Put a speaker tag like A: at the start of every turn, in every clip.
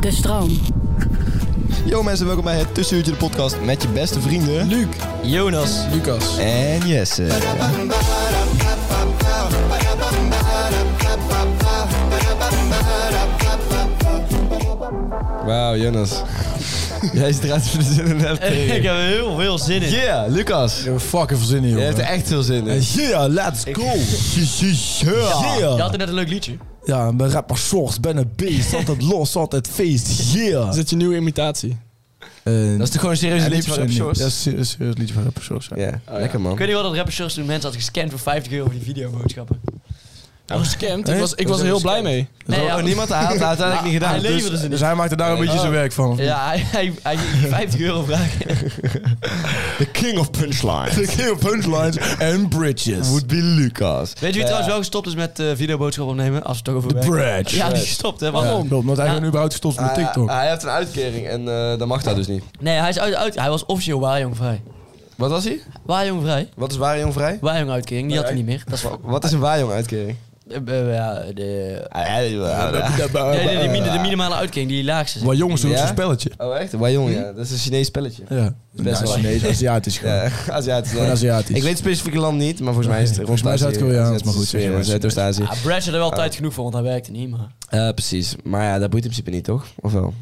A: De stroom.
B: Yo mensen, welkom bij het Tussenuurtje de podcast met je beste vrienden... Luc, Jonas
C: Lucas.
B: en Jesse.
C: Wauw, Jonas. Jij zit eruit voor de zin in hebt.
D: Ik heb er heel veel zin in.
B: Yeah, Lucas.
C: heb er fucking veel zin in,
B: Je hebt er
C: jongen.
B: echt veel zin in.
C: Yeah, let's go.
D: Je
C: Yeah.
D: had er net een leuk liedje.
C: Ja, mijn rapper shorts, ben een beest. Altijd los, altijd feest. Yeah. Eh,
E: Is dat je nieuwe imitatie?
B: Dat is toch gewoon een serieus liedje van Rapshores?
C: Dat is een eh, serieus liedje van rapper shorts. Ja.
B: Oh, Ja, lekker man.
D: Ik weet niet wel dat rapper Shores toen mensen had gescand voor 50 euro voor die videoboodschappen.
E: Nou, gescamd. Ik
C: Hè?
E: was, ik
C: Dat
E: was
C: is
E: er heel
C: ook
E: blij mee.
D: Nee, ja,
B: Oh, niemand had het uiteindelijk niet gedaan.
D: Hij
B: Dus-
D: leverde ze
C: Dus
D: niet.
C: hij maakt er daar een beetje zijn werk van. of niet?
D: Ja, hij, hij, hij ging 50 euro vragen.
B: The king of punchlines
C: De king of punchlines en bridges.
B: would be Lucas.
D: Weet je wie trouwens wel gestopt is met eh videoboodschappen opnemen? Als we het toch over werk-
C: Bridge.
D: Ja, die is gestopt, hè?
C: Ja,
D: Waarom?
C: klopt, omdat hij
D: Ja.
C: gewoon überhaupt gestopt is
B: Ah,
C: met TikTok.
B: hij heeft een uitkering en eh dat mag daar dus niet.
D: Nee, hij is uit, uit. Hij was officieel waarjongvrij.
B: Wat was hij?
D: Waarjongvrij?
B: Wat is waarjong vrij?
D: Waarjonguitkering, die had hij niet meer. Dat is wel...
B: Wat is een waarjong uitkering?
D: eh, eh, ja, de... Nee, nee, de,
C: Ja.
D: mini- de minimale uitkering, die laagste.
C: Maar jongens, dat is
B: ah. Ja?
C: een spelletje.
B: Oh echt? Waarjong, ja. Dat is een Chinees spelletje.
C: Hmm? Ja.
B: best
C: Nou,
B: wel-
C: Chinees, Aziatisch gewoon.
B: Ja, Aziatisch.
C: Gewoon Aziatisch.
B: Ik weet het specifieke land niet, maar volgens mij is het...
C: Volgens mij is het Zuid-Koreaans, maar goed, zeg maar.
B: Zuidoost-Azië.
D: Ja, Brad had er wel tijd genoeg voor, want hij werkte niet, maar...
C: Ah.
B: Eh, precies. Maar ja, dat boeit in principe niet, toch? Of wel?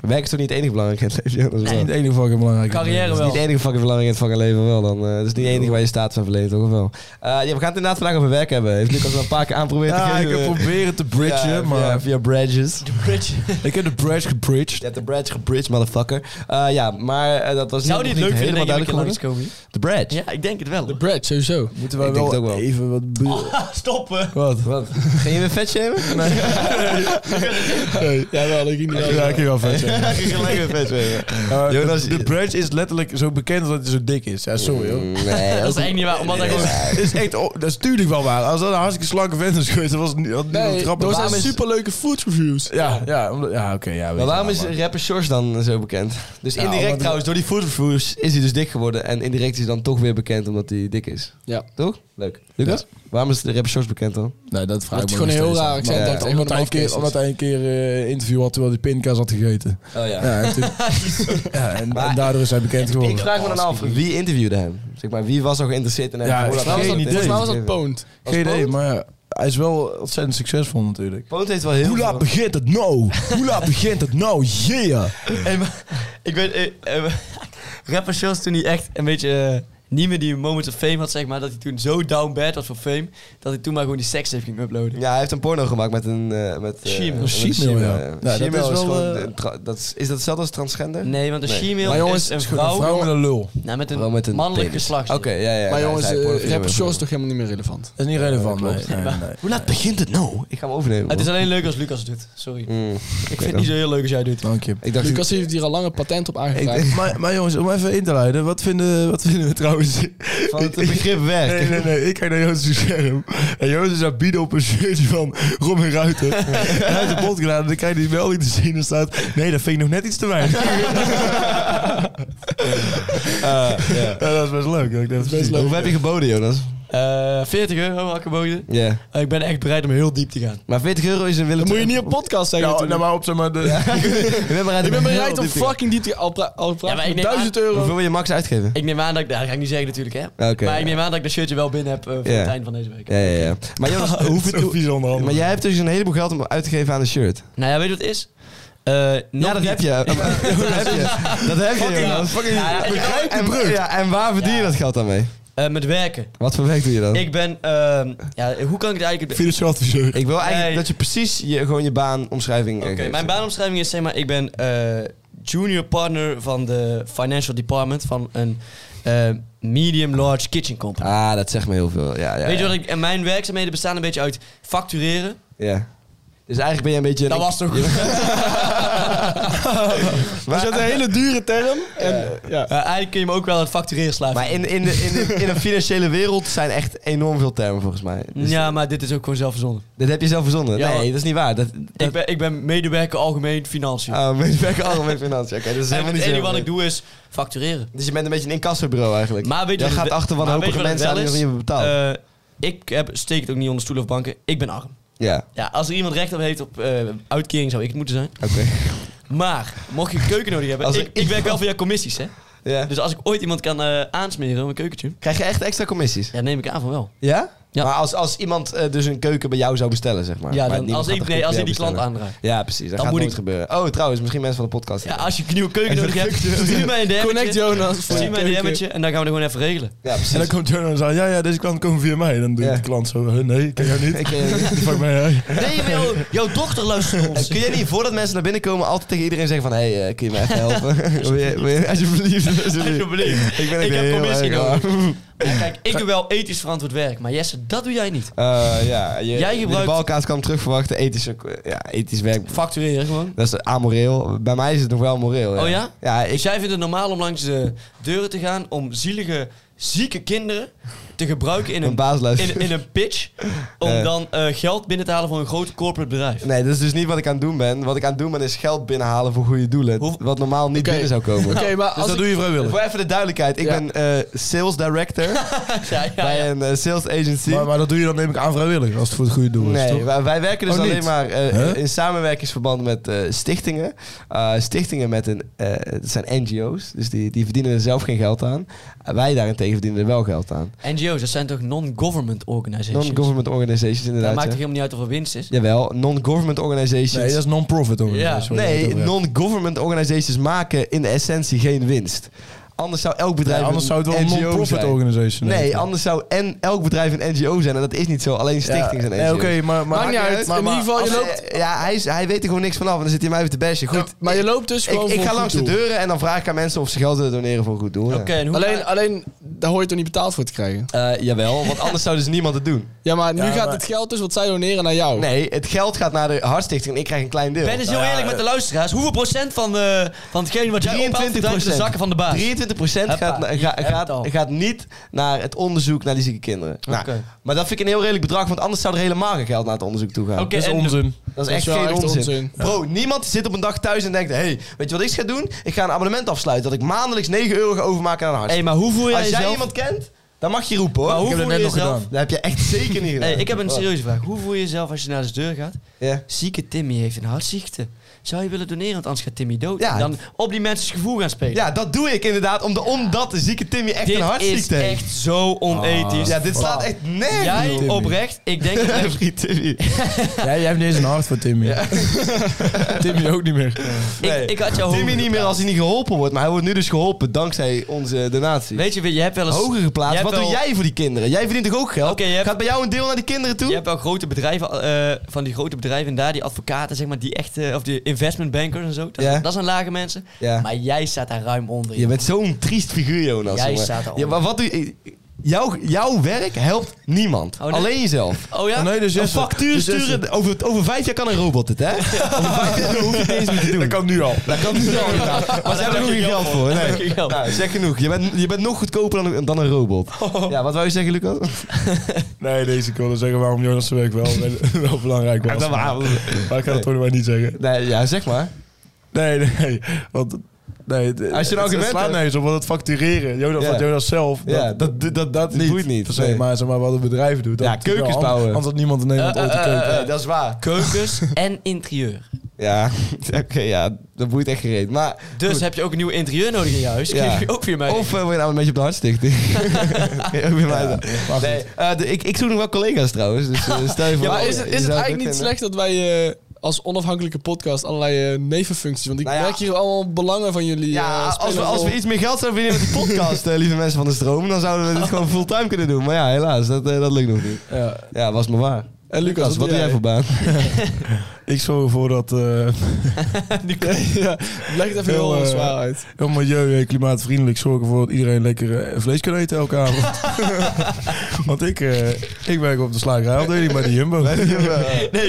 B: Werk is toch niet het enige belangrijke in het leven? Jonas?
C: In
B: Wel.
C: het enige geval belangrijk.
D: Carrière
B: Niet
D: wel.
B: het enige fucking belangrijk in het fucking leven wel dan. eh, dat is niet het enige waar je staat van verleden, toch? Of wel? Eh, ja, we gaan het inderdaad vandaag over werk hebben. Heeft Lucas al een paar keer aangeprobeerd
C: Ja,
B: te
C: ik
B: geven.
C: heb proberen te
B: Ja,
C: bridgen,
B: via-
C: maar...
B: Via bridges.
D: De bridge.
C: Ik heb de bridge gebridged.
B: Je hebt de bridge gebridged, motherfucker. Eh, ja, maar eh, dat was
D: Zou die
B: niet
D: het leuk vinden
B: helemaal
D: dat je een
B: duidelijk
D: keer
B: geworden.
D: langs komen?
B: De bridge?
D: Ja, ik denk het wel.
E: De bread, sowieso. Ah.
C: Moeten
B: Ik
C: we
B: denk
C: wel,
B: het ook wel.
C: even wat... be-
D: Stoppen!
C: Wat?
B: Wat? Ging je weer vet shamen? Nee.
E: Nee, jawel, ik niet.
C: Ja, ik ging wel vet zeggen.
B: Ging je gelijk weer vet shamen?
C: Eh, de-
B: Jonas-
C: de bridge is letterlijk zo bekend dat hij zo dik is. Ja, sorry hoor.
B: Nee,
D: Dat is echt niet waar, omdat hij gewoon...
C: Dat is echt... oh, dat is natuurlijk wel waar. Als dat een hartstikke slanke vent is geweest, dat was niet had niemand
E: Nee,
C: grappig.
E: dat
C: Waarom
E: zijn
C: is-
E: superleuke food reviews.
C: Ja, ja, omdat- ja oké. ja, weet
B: Maar
C: je
B: waarom
C: wel,
B: is
C: maar-
B: rapper Shores dan zo bekend? Dus
C: Ja,
B: indirect
C: omdat-
B: trouwens, door die food reviews is hij dus dik geworden. En indirect is hij dan toch weer bekend omdat hij dik is.
E: Ja.
B: Toch? Leuk. Lucas? Waarom is de rapper Shores bekend dan?
C: Nee, dat vraag
E: Dat
C: ik
E: is
C: me nog
E: gewoon heel
C: steeds
E: raar
C: af.
E: accent
C: Maar
E: dat
C: ja,
E: het
C: omdat, hij
E: helemaal
C: een keer,
E: afkeert.
C: omdat hij een keer eh, interview had terwijl hij pindakaas had gegeten.
B: Oh ja.
C: Ja, en, toen- ja, en, en daardoor is hij bekend geworden.
B: Ik vraag me dan af, wie interviewde hem? Zeg maar, wie was al geïnteresseerd in hem?
C: Ja,
B: Hoe
C: ik
B: dat-
C: vraag me
B: Volgens
C: dat-
B: mij
E: Volgens mij
B: was
E: was dat Poont.
B: Was
C: Geen idee,
B: Poont?
C: maar ja, hij is wel ontzettend succesvol natuurlijk.
B: Poont heeft wel heel
C: Hoe laat
B: veel...
C: begint het nou? Hoe laat begint het nou? Yeah!
D: Hey, maar- ik weet... eh, eh, rapper Shores toen hij echt een beetje... eh, niet meer die moment of fame had, zeg maar. Dat hij toen zo down bad was voor fame... dat hij toen maar gewoon die seks heeft ging uploaden.
B: Ja, hij heeft een porno gemaakt met een... eh, met, eh,
D: Shemale.
B: met
C: Shemale,
B: Shemale, eh.
C: ja. Ja,
E: Nou,
C: dat
B: Shemale
C: is
B: is
C: wel,
B: gewoon,
C: eh,
B: eh, tra- dat is- Is dat hetzelfde als transgender?
D: Nee, want een
B: Nee.
D: shemale
C: Maar jongens,
D: is
C: het
D: een
C: is gewoon een
D: vrouw,
C: vrouw met een lul.
D: nou, met een
B: Wel met een
D: mannelijk
B: penis.
D: geslacht.
B: Oké, ja, ja.
E: Maar
B: ja,
E: jongens,
B: hij zei
E: eh,
B: pornofilm.
E: rapper Shores is toch helemaal niet meer relevant?
C: Dat is niet relevant,
B: klopt.
C: nee. nee, nee.
B: Hoe laat begint het nou? Ik ga hem overnemen.
D: Het is
B: man.
D: alleen leuk als Lucas het doet. Sorry.
B: Mm,
D: Ik
B: oké
D: vind
B: dan.
D: het niet zo heel leuk als jij doet.
C: Dank je.
B: Ik dacht,
E: Lucas heeft hier al lange patent op aangevraagd.
C: Ik- maar, maar jongens, om even in te leiden, wat vinden, wat vinden we trouwens?
B: van het begrip werk.
C: Nee, nee, nee. Ik kijk naar Joost' scherm. En Joost is aan het bieden op een shirtje van Robin Ruiter. En hij heeft de bot gedaan. En dan krijg je die melding te zien. En staat... Nee, dat vind ik nog net iets te weinig.
B: Eh, ja. Ah,
C: Ja, dat is best leuk. Ik denk, dat is
B: Hoeveel heb je geboden, Jonas?
D: Eh, 40 euro had ik geboden.
B: Ja.
D: Eh, ik ben echt bereid om heel diep te gaan.
B: Maar 40 euro is een Willem
E: Dan moet je
B: II-
E: niet op podcast zeggen.
C: Nou, nou
E: natuurlijk.
C: maar op zeg maar de...
B: Ik ben bereid,
E: ik ben
B: om heel
E: bereid om
B: diep te gaan.
E: fucking diep te... Al, pra- al praat
D: Ja, maar ik
E: ik
D: neem aan-
E: 1000 euro.
B: Hoeveel wil je max uitgeven?
D: Ik neem aan dat ik... Nou, dat ga ik niet zeggen natuurlijk, hè.
B: Oké.
D: maar ik neem aan dat ik dat shirtje wel binnen heb eh, voor
B: Ja.
D: het eind van deze week.
B: Ja, ja, ja. Maar, Jonas, hoeveel,
C: Zo vies onderhandelen.
B: maar jij hebt dus een heleboel geld om uit te geven aan een shirt.
D: Nou ja, weet je wat het is? Eh, nog
B: ja, dat
D: niet.
B: heb je. dat heb je. Dat heb je, Jonas.
D: Ja, ja, ik-
B: en, ja, en waar verdien je dat geld dan mee?
D: eh, met werken.
B: Wat voor werk doe je dan? Ik,
D: Ik ben... ehm, ja, hoe kan ik het eigenlijk... het-
C: Financieel adviseur.
B: wil eigenlijk
D: Nee.
B: dat je precies je, gewoon je baanomschrijving eh,
D: Oké,
B: geeft.
D: mijn baanomschrijving is zeg maar, ik ben eh, junior partner van de financial department van een eh, medium-large kitchen company.
B: Ah, dat zegt me heel veel. Ja, ja,
D: Weet je
B: ja.
D: wat ik, en mijn werkzaamheden bestaan een beetje uit factureren.
B: Ja. Dus eigenlijk ben je een beetje...
D: Dat was toch goed.
B: Maar,
E: Dat is een hele dure term. En, eh, ja.
D: eigenlijk kun je me ook wel het factureren slaven.
B: maar in, in, de, in, de, in de financiële wereld zijn echt enorm veel termen volgens mij. Dus
D: ja, maar dit is ook gewoon zelfverzonnen.
B: Dat heb je zelf verzonnen.
D: Ja.
B: nee, dat is niet waar. Dat, dat,
D: Ik ben, ik ben medewerker algemeen financiën.
B: Ah, met werken algemeen financiën. Oké, dat is
D: en
B: helemaal
D: het
B: niet zo
D: enige
B: heel
D: wat
B: veel.
D: ik doe is factureren.
B: Dus je bent een beetje een incassobureau eigenlijk.
D: Maar weet je
B: Jij
D: wat
B: gaat
D: het-
B: achter
D: maar
B: wanhopige
D: weet je wat
B: mensen
D: het
B: aan die
D: wel
B: nog
D: is?
B: niet hebben betaald.
D: Eh, ik heb, steek het ook niet onder stoelen of banken. Ik ben arm.
B: ja,
D: Ja, als er iemand recht op heeft op eh, uitkering zou ik het moeten zijn.
B: oké.
D: Maar, mocht je een keuken nodig hebben,
B: Als
D: ik,
B: er
D: ik werk wel via commissies, hè?
B: ja.
D: Dus als ik ooit iemand kan eh, aansmeren om een keukentje,
B: Krijg je echt extra commissies?
D: ja, neem ik aan van wel.
B: Ja?
D: Ja.
B: Maar als, als iemand eh, dus een keuken bij jou zou bestellen, zeg maar.
D: Ja,
B: Maar
D: dan-
B: niemand
D: als
B: gaat
D: ik-
B: een
D: nee,
B: keuken
D: als
B: bij
D: ik die
B: jou
D: klant
B: bestellen.
D: aanraakt.
B: Ja, precies. Dat
D: Dan
B: gaat
D: moet
B: nooit
D: ik-
B: gebeuren. Oh, trouwens, misschien mensen van de podcast.
D: Ja, als je een nieuwe keuken nodig hebt, stuur mij een DM'tje.
E: Connect Jonas voor
D: Stuur
E: je
D: mij een
E: keuken.
D: DM'tje en dan gaan we het gewoon even regelen.
B: Ja, precies.
C: En dan komt Jonas aan, ja, ja, deze klant komt via mij. Dan doet
B: Ja.
C: de klant zo, huh, nee, ik ken jou niet.
B: Ik ken jou niet.
C: Die fuck mij, hè.
D: Nee, maar jou- jouw dochter luistert
B: En
D: ons.
B: kun jij niet, voordat mensen naar binnen komen, altijd tegen iedereen zeggen van... Hé, hey, eh, kun je me echt helpen? Wil je- wil je- alsjeblieft, alsjeblieft.
D: Alsjeblieft.
B: Ik ben
D: Ik
B: echt
D: heb
B: heel
D: commissie
B: erg
D: nodig.
B: arm.
D: Ja, kijk, ik doe wel ethisch verantwoord werk, maar Jesse, dat doe jij niet.
B: Eh, ja, je,
D: Jij gebruikt-
B: De balkaart kwam terug verwachten. Ethische, ja, ethisch werk.
D: Factureren gewoon.
B: Dat is amoreel. Bij mij is het nog wel moreel.
D: Oh ja?
B: Ja,
D: Dus
B: ik,
D: jij vindt het normaal om langs de deuren te gaan om zielige, zieke kinderen te gebruiken in
B: een
D: een,
B: baasluis.
D: in, in een pitch om
B: Eh.
D: dan eh, geld binnen te halen voor een groot corporate bedrijf.
B: Nee, dat is dus niet wat ik aan het doen ben. Wat ik aan het doen ben is geld binnenhalen voor goede doelen.
D: Hoe-
B: Wat normaal niet
E: Oké.
B: binnen zou komen.
E: Oké, maar
C: Dus
E: als ik-
B: je vrijwillig. Voor even de duidelijkheid. Ik
E: Ja.
B: ben eh, sales director
D: Ja, ja, ja.
B: bij een eh, sales agency.
C: Maar, maar dat doe je dan neem ik aan vrijwillig, als het voor het goede doel is,
B: Nee,
C: toch?
B: wij, wij werken dus
C: Oh, niet?
B: alleen maar eh,
C: Huh?
B: in samenwerkingsverband met eh, stichtingen. Eh, stichtingen met een, eh, het zijn NGO's, dus die, die verdienen er zelf geen geld aan. Eh, wij daarentegen verdienen er wel geld aan.
D: NGO's, dat zijn toch non-government organizations?
B: eh, Non-government organizations
D: Dat
B: inderdaad.
D: maakt
B: ja.
D: toch helemaal niet uit of er winst is?
B: Jawel, non-government organizations.
C: Nee, dat is non-profit. organisatie, waar je het
B: Nee,
C: over hebt.
B: non-government organizations maken in de essentie geen winst. Anders zou elk bedrijf
C: Ja, anders zou het wel een
B: NGO
C: non-profit
B: zijn.
C: organization
B: Nee,
C: heten.
B: anders zou en elk bedrijf een NGO zijn. En dat is niet zo. Alleen stichtingen
C: Ja,
B: zijn
C: nee,
B: NGO's.
C: oké, maar, maar...
E: Maakt niet uit.
C: maar-
E: in
C: maar-
E: ieder geval, je
B: Als-
E: loopt...
B: eh, Ja, hij, is- hij weet er gewoon niks vanaf. En dan zit hij mij weer te bashen. Goed,
E: Maar je loopt dus
B: ik,
E: gewoon
B: ik
E: voor
B: ga
E: een
B: langs de
E: goed doel.
B: deuren en dan vraag ik aan mensen of ze geld willen doneren voor een goed doel.
D: Oké, en hoe...
E: Alleen, alleen, daar hoor je toch niet betaald voor te krijgen?
B: Eh, jawel, want anders zou dus niemand het doen.
E: Ja, maar nu
C: Ja,
E: gaat
C: maar-
E: het geld dus wat zij doneren naar jou.
B: Nee, het geld gaat naar de hartstichting en ik krijg een klein deel.
D: Ben eens heel eerlijk
B: eh,
D: met de luisteraars. Hoeveel procent van, eh van hetgeen wat jij ophaalt, verdwijnt in de zakken van de baas?
B: 23%
D: Huppa,
B: gaat, na- ga-
D: heb het al.
B: gaat, gaat niet naar het onderzoek naar die zieke kinderen. Nou,
D: Oké.
B: Maar dat vind ik een heel redelijk bedrag, want anders zou er helemaal geen geld naar het onderzoek toe gaan.
D: Oké,
E: Dat is
D: en-
E: onzin.
B: Dat is echt
E: wel
B: geen onzin.
E: onzin.
B: Bro, niemand zit op een dag thuis en denkt... hey, weet je wat ik ga doen? Ik ga een abonnement afsluiten... dat ik maandelijks 9 euro ga overmaken aan een
D: Hé,
B: hartstikke.
D: hey, maar hoe voel jij
B: Als jij
D: jezelf?
B: iemand kent, dan mag je roepen hoor.
D: Maar hoe
B: ik heb
D: voel je
B: nog
D: jezelf?
B: gedaan. Dat heb je echt zeker niet gedaan.
D: Hey, ik heb een serieuze vraag. Hoe voel je jezelf als je naar de deur gaat?
B: Ja.
D: Zieke Timmy heeft een hartziekte. Zou je willen doneren? Want anders gaat Timmy dood.
B: Ja.
D: En dan op die mensen's gevoel gaan spelen.
B: ja, dat doe ik inderdaad om de- omdat de zieke Timmy echt
D: dit
B: een
D: is
B: hartziekte heeft. Ah.
D: echt zo onethisch.
B: Ja, dit slaat echt nergens
D: Jij
B: op.
D: oprecht, Oh ik denk... dat-
B: Vriend Timmy.
C: Jij, jij hebt niet eens een hart voor Timmy. Timmy ook niet meer.
B: Nee.
D: ik, ik had jou
B: Timmy
D: hoger
B: niet meer als hij niet geholpen wordt, maar hij wordt nu dus geholpen dankzij onze donatie.
D: Weet je, je hebt wel eens...
B: Hoger geplaatst.
D: je
B: Wat
D: hebt
B: doe
D: wel-
B: jij voor die kinderen? Jij verdient toch ook geld?
D: Oké, je hebt-
B: Gaat bij jou een deel naar die kinderen toe?
D: Je hebt wel grote bedrijven, eh, van die grote bedrijven en daar, die advocaten, zeg maar, die echt, eh, of die investmentbankers en zo. Dat,
B: Ja.
D: dat zijn lage mensen.
B: Ja.
D: Maar jij staat daar ruim onder.
B: Je bent zo'n triest figuur, Jonas.
D: Jij
B: jongen.
D: staat al.
B: Ja, maar wat doe je... Jouw, jouw werk helpt niemand.
D: Oh, nee?
B: Alleen jezelf.
D: Oh ja?
C: Nee, dus
B: Een
C: Jesse-
B: factuur
C: dus Jesse-
B: sturen... Over, over vijf jaar kan een robot het, hè? over vijf jaar hoef je het niet eens meer te doen.
C: Dat kan nu al.
B: Dat kan niet zo. Maar ze hebben er
D: heb je
B: geen
D: geld
B: geld voor.
D: voor.
B: Nee.
D: Daar heb je geld.
B: Nou, zeg genoeg. Je bent, je bent nog goedkoper dan, een- dan een robot. Ja, wat wou je zeggen, Lucas?
C: Nee, deze ik wilde zeggen waarom Jonas zijn werk wel, wel belangrijk was. maar ik ga dat toch maar niet zeggen.
B: Nee, ja, zeg maar.
C: Nee, nee. Want Nee,
B: Als
C: de-
B: je een
C: het-
B: argument
C: Het slaat
B: hebt.
C: nergens op, want het factureren. Jonas,
B: Ja.
C: van Jonas zelf.
B: Ja, dat- dat- dat- dat boeit niet.
C: Per se,
B: Nee.
C: maar, zeg maar wat het bedrijf doet. Dat
B: Ja,
C: is wel
B: keukens
C: anders.
B: bouwen.
C: Anders had niemand in Nederland ooit een keuken.
B: dat is waar.
D: Keukens en interieur.
B: Eh, Ja, oké, ja, dat boeit echt gereed. Maar
D: Dus heb je ook een nieuw interieur nodig in je huis?
B: Ja.
D: Geef je ook weer mee.
B: Of eh, word je nou een beetje op de hartstichting? Kun je ook weer mij doen.
C: maar goed.
B: nee, eh, de- ik, ik zoek nog wel collega's trouwens. Dus eh, stel je voor.
E: maar is
B: je
E: het,
B: zou
E: is het
B: ook
E: eigenlijk niet
B: kunnen.
E: slecht dat wij eh, als onafhankelijke podcast allerlei eh, nevenfuncties... Want ik
B: Nou ja.
E: merk hier allemaal belangen van jullie.
B: Ja,
E: eh,
B: als we,
E: spelen
B: als
E: wel.
B: we iets meer geld zouden verdienen met de podcast, eh, lieve mensen van de stroom, dan zouden we dit gewoon fulltime kunnen doen. Maar ja, helaas, dat, eh, dat lukt nog niet.
E: Ja.
B: Ja, was maar waar.
E: En Lucas,
B: Lucas, wat doe jij voor baan?
C: Ik zorg ervoor dat eh,
E: ja, leg het even heel,
C: Heel,
E: eh,
C: eh,
E: zwaar uit.
C: heel milieu- en klimaatvriendelijk zorgen voor dat iedereen lekker eh, vlees kan eten elke avond. Want ik, eh, ik werk op de slagerijafdeling bij de Jumbo.
D: Nee,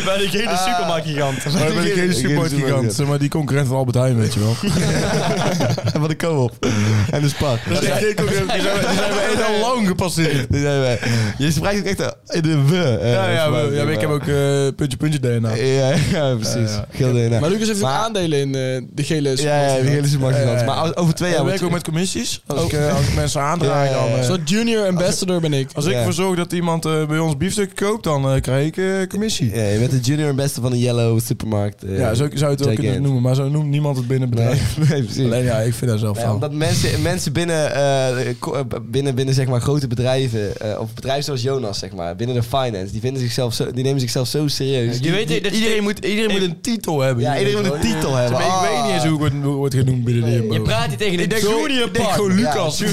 D: bij degene
B: Ah.
D: supermarktgigant.
C: Maar ik ben
B: Ik- ik-
C: geen
B: ik-
C: supermarktgigant, zeg maar die concurrent van Albert Heijn, weet je wel.
B: En wat de co-op. En de spak.
C: Dat is echt geen concurrent, Dus die zijn we- die zijn we echt al lang gepasseerd.
B: Die zijn wij. Je spreekt ook echt eh, in de we. eh,
C: Ja, ja,
B: voor
C: maar,
B: mij.
C: ja, maar ik heb ook eh, puntje puntje DNA.
B: Ja, ja, precies.
C: Ja, ja.
B: Geel DNA.
E: Maar Lucas heeft
B: Maar-
E: ook aandelen in eh, de gele...
B: Ja, ja, de hele supermarktgigant.
C: Ja, ja.
B: Maar als- over twee jaar...
C: ik
B: wordt-
C: werk ook met commissies. Als,
B: Oh.
C: ik, eh, als ik mensen aandraai,
B: Ja, ja, ja.
C: dan... eh,
E: Een soort junior ambassador ben ik.
C: als ik
B: Ja.
C: ervoor zorg dat iemand eh, bij ons biefstuk koopt, dan eh, krijg ik eh, commissie.
B: Ja, je bent de junior en beste van de Yellow supermarkt. eh,
C: Ja, zo zou je het wel
B: giant.
C: kunnen noemen, maar zo noemt niemand het binnen het
B: Nee,
C: bedrijf.
B: nee, precies.
C: Alleen ja, ik vind dat zelf
B: Nee,
C: wel.
B: omdat mensen, mensen binnen, eh, ko- eh, binnen, binnen zeg maar, grote bedrijven, eh, of bedrijven zoals Jonas, zeg maar, binnen de finance, die, vinden zichzelf zo, die nemen zichzelf zo serieus.
D: Je weet dat je-
C: iedereen moet, iedereen moet een titel hebben.
B: ja, iedereen moet een titel hebben.
C: Maar Ik weet niet eens hoe ik word, hoe ik word genoemd binnen de Jumbo.
D: Je praat hier tegen een junior
C: Ik denk
D: partner.
C: gewoon
B: Ja.
C: Lucas.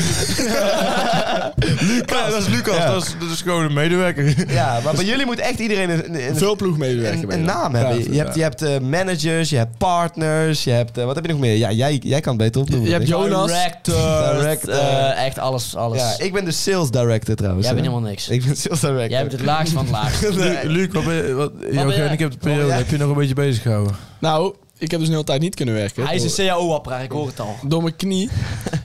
C: Lucas. dat is Lucas.
B: Ja.
C: Dat, is, dat is gewoon een medewerker.
B: Ja, maar bij jullie moet echt iedereen een, een, een-
E: Veel ploegmedewerker
B: een,
E: ben
B: een
E: ik.
B: naam hebben.
C: Ja,
B: je, hebt, je hebt eh, managers, je hebt partners, je hebt... eh, wat heb je nog meer? Ja, jij, jij kan het beter opdoen.
E: Je hebt
B: denk ik.
E: Jonas.
D: Director.
B: Director.
D: eh, echt alles, alles.
B: Ja, ik ben de sales director trouwens.
D: Jij bent
B: hè.
D: helemaal niks.
B: Ik ben sales director.
D: Jij bent het laagst van het laagst.
C: Lu- Luc, wat ben je, wat, Joachim,
D: ben jij?
C: ik heb de periode.
B: jij?
C: Heb je nog een beetje bezig gehouden?
E: Nou, ik heb dus een hele tijd niet kunnen werken.
D: Hij is
E: door,
D: een CAO-apparaat, ik hoor het al.
E: door mijn knie.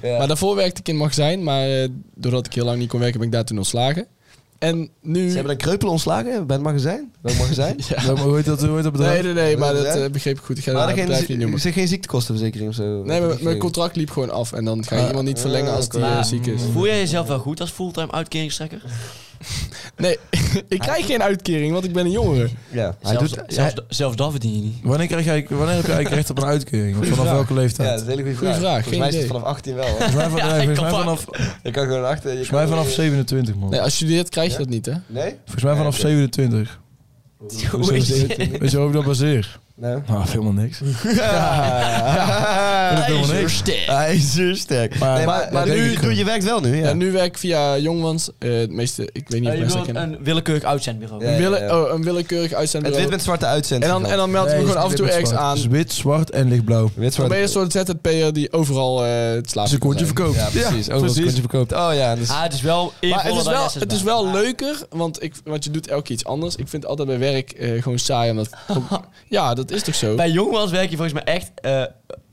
B: Ja.
E: Maar daarvoor werkte ik in het magazijn. Maar eh, doordat ik heel lang niet kon werken, ben ik daar toen ontslagen. En nu...
B: Ze hebben een kreupel ontslagen bij het magazijn. Welk magazijn?
E: Ja.
C: Ja, maar Hoe heet dat, hoe heet dat bedrijf?
E: Nee, nee, nee, maar dat
B: Ja?
E: eh, begreep ik goed. Ik ga
B: Maar
E: dat
B: er
E: bedrijf niet
B: geen,
E: noemen.
B: ze geen ziektekostenverzekering of zo.
E: Nee, mijn, mijn contract liep gewoon af. En dan ga je
C: Ah,
E: iemand niet verlengen als die eh,
D: Maar
E: ziek is.
D: Voel jij jezelf wel goed als fulltime uitkeringstrekker?
E: Nee, ik krijg geen uitkering, want ik ben een jongere.
B: Ja, hij
D: Zelfs,
B: doet.
D: zelfs,
B: hij-
D: zelfs dat verdien je niet.
C: Wanneer, krijg jij, wanneer heb jij eigenlijk recht op een uitkering? Want vanaf
B: vraag.
C: welke
B: ja,
C: leeftijd?
B: dat is een hele goede
E: Goeie
B: vraag.
E: vraag,
B: Volgens
E: geen
B: mij is het
E: idee.
B: vanaf 18 wel. hè.
C: Volgens mij, van,
D: Ja,
C: nee,
D: ik
C: volgens
D: kan
C: mij
D: vaak.
C: vanaf,
B: je kan gewoon achter. Je
C: volgens mij
B: kan-
C: vanaf 27, man.
E: Nee, als je leert, krijg je
B: Ja?
E: dat niet, hè?
B: Nee?
C: Volgens mij vanaf
B: Ja,
C: 27.
B: Hoezo
D: is het?
B: 17?
C: Weet je waarop ik dat baseer?
B: Nou.
C: Nou, helemaal niks.
B: Ja.
C: helemaal niks.
D: Ijzersterk.
B: Hij is zo sterk.
C: Maar-
B: Nee, Maar
C: maar
B: maar
C: denk
B: nu
C: ik
B: doe
C: wel.
B: je werkt wel nu.
E: Ja,
B: Ja.
E: nu werk ik via Jongmans. eh, het meeste, ik weet niet of
D: Ah, Je
E: mensen dat
D: wilt
E: kennen.
D: een willekeurig uitzendbureau.
B: Ja.
E: Een, wille-
B: ja.
E: oh, een willekeurig
B: Het
E: uitzendbureau.
B: wit met zwarte uitzending.
E: en, dan, en dan meld ik me gewoon af en toe ergens aan.
C: Dus wit, zwart en lichtblauw.
B: Wit
E: Dan
B: zwart.
E: ben je een soort ZZP'er die overal eh het slaapt.
C: Dus een kontje verkoopt.
B: Ja, precies. Overal
C: precies.
B: het kontje verkoopt. Oh ja. dus-
D: Ah, het is wel
E: Maar
D: eervoller
E: het is
D: dan
E: wel,
D: SS
E: het is
D: baan.
E: wel leuker, want, ik, want je doet elke keer iets anders. Ik vind het altijd bij werk eh, gewoon saai. Omdat, ja, dat is toch zo?
D: Bij jongmans werk je volgens mij echt, eh,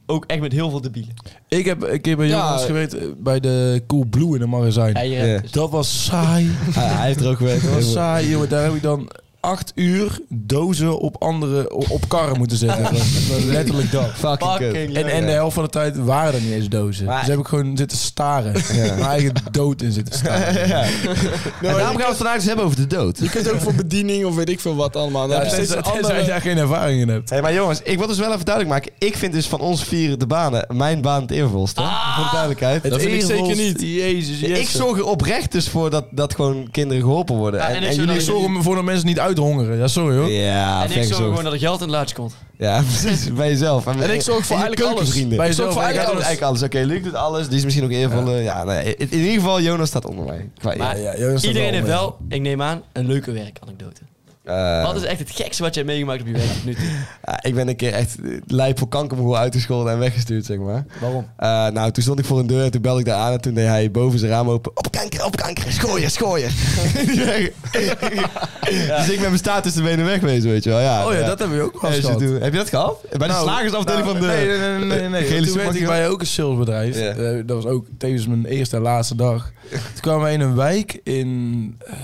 D: ook echt met heel veel debielen.
C: Ik heb een keer bij
E: Ja.
C: Jonas gewerkt eh, bij de Cool Blue in een magazijn.
D: Ja, je-
B: Ja.
D: dus-
C: Dat was saai.
B: Ah, Hij heeft er ook
C: Dat was
B: gewerkt.
C: saai, jongen. Daar heb ik dan acht uur dozen op andere op, op karren moeten zetten. Dat was Letterlijk dat.
B: Fucking kut.
D: Fucking
C: En, eh, en de helft van de tijd waren er niet eens dozen.
B: Maar-
C: dus heb ik gewoon zitten staren. Mijn eigen dood in zitten staren.
B: Ja. Nou, En daarom gaan we het vandaag eens hebben over de dood.
E: Je kunt ook voor bediening of weet ik veel wat allemaal. Dan
C: Ja,
E: heb je
C: tenzij-
E: steeds een
C: tenzij je
E: andere-
C: daar geen ervaring in hebt.
B: Hé, maar jongens, ik wil dus wel even duidelijk maken. Ik vind dus van ons vier de banen mijn baan het eervolste. hè? Voor de duidelijkheid.
E: Dat vind ik zeker niet.
C: Jezus,
B: Ja, ik zorg er oprecht dus voor dat, dat gewoon kinderen geholpen worden.
D: Ja,
B: en, en,
D: en ik zou
B: jullie...
C: Ik zorg ervoor dat mensen niet uithongeren. Ja, sorry hoor.
B: Ja,
D: en ik
B: ver
D: zorg
B: gezocht.
D: gewoon dat er geld in het laatst komt.
B: Ja, precies. Bij jezelf. En,
E: ik zorg voor
B: en je
E: eigenlijk alles.
B: keukenvrienden.
C: Bij
B: Ik zorg
C: jezelf
B: voor eigenlijk alles.
C: eigenlijk
B: Eigenlijk alles. Oké, Luc doet alles. Die is misschien ook eervol. eh, Ja, nee, in, in ieder geval, Jonas staat onder mij. Qua
D: Maar
C: ja, Jonas
D: iedereen
C: staat wel
D: heeft
C: mee.
D: wel, ik neem aan, een leuke werkanekdote.
B: Eh,
D: Wat is echt het gekste wat jij hebt meegemaakt op je werk tot nu toe?
B: ja, ik ben een keer echt eh, lijp voor kankermoe uitgescholden en weggestuurd, zeg maar.
D: Waarom?
B: Eh, nou, toen stond ik voor een deur en toen belde ik daar aan en toen deed hij boven zijn raam open. Op kanker, op kanker, schooien, schooien. Dus ik ben mijn staat tussen de benen wegwezen, weet je wel. Ja,
C: Oh ja, dat hebben we ook wel
B: Ja,
C: eens
B: zo
C: gehad.
B: doen. Heb je dat gehad? Bij de
C: Nou,
B: slagersafdeling
C: nou,
B: van de...
C: Nee, nee, nee. nee, nee,
B: de gele
C: Toen werkte ik
B: supermarkt.
C: bij ook een salesbedrijf.
B: Ja.
C: Eh, dat was ook tevens mijn eerste en laatste dag. Toen kwamen we in een wijk in... eh,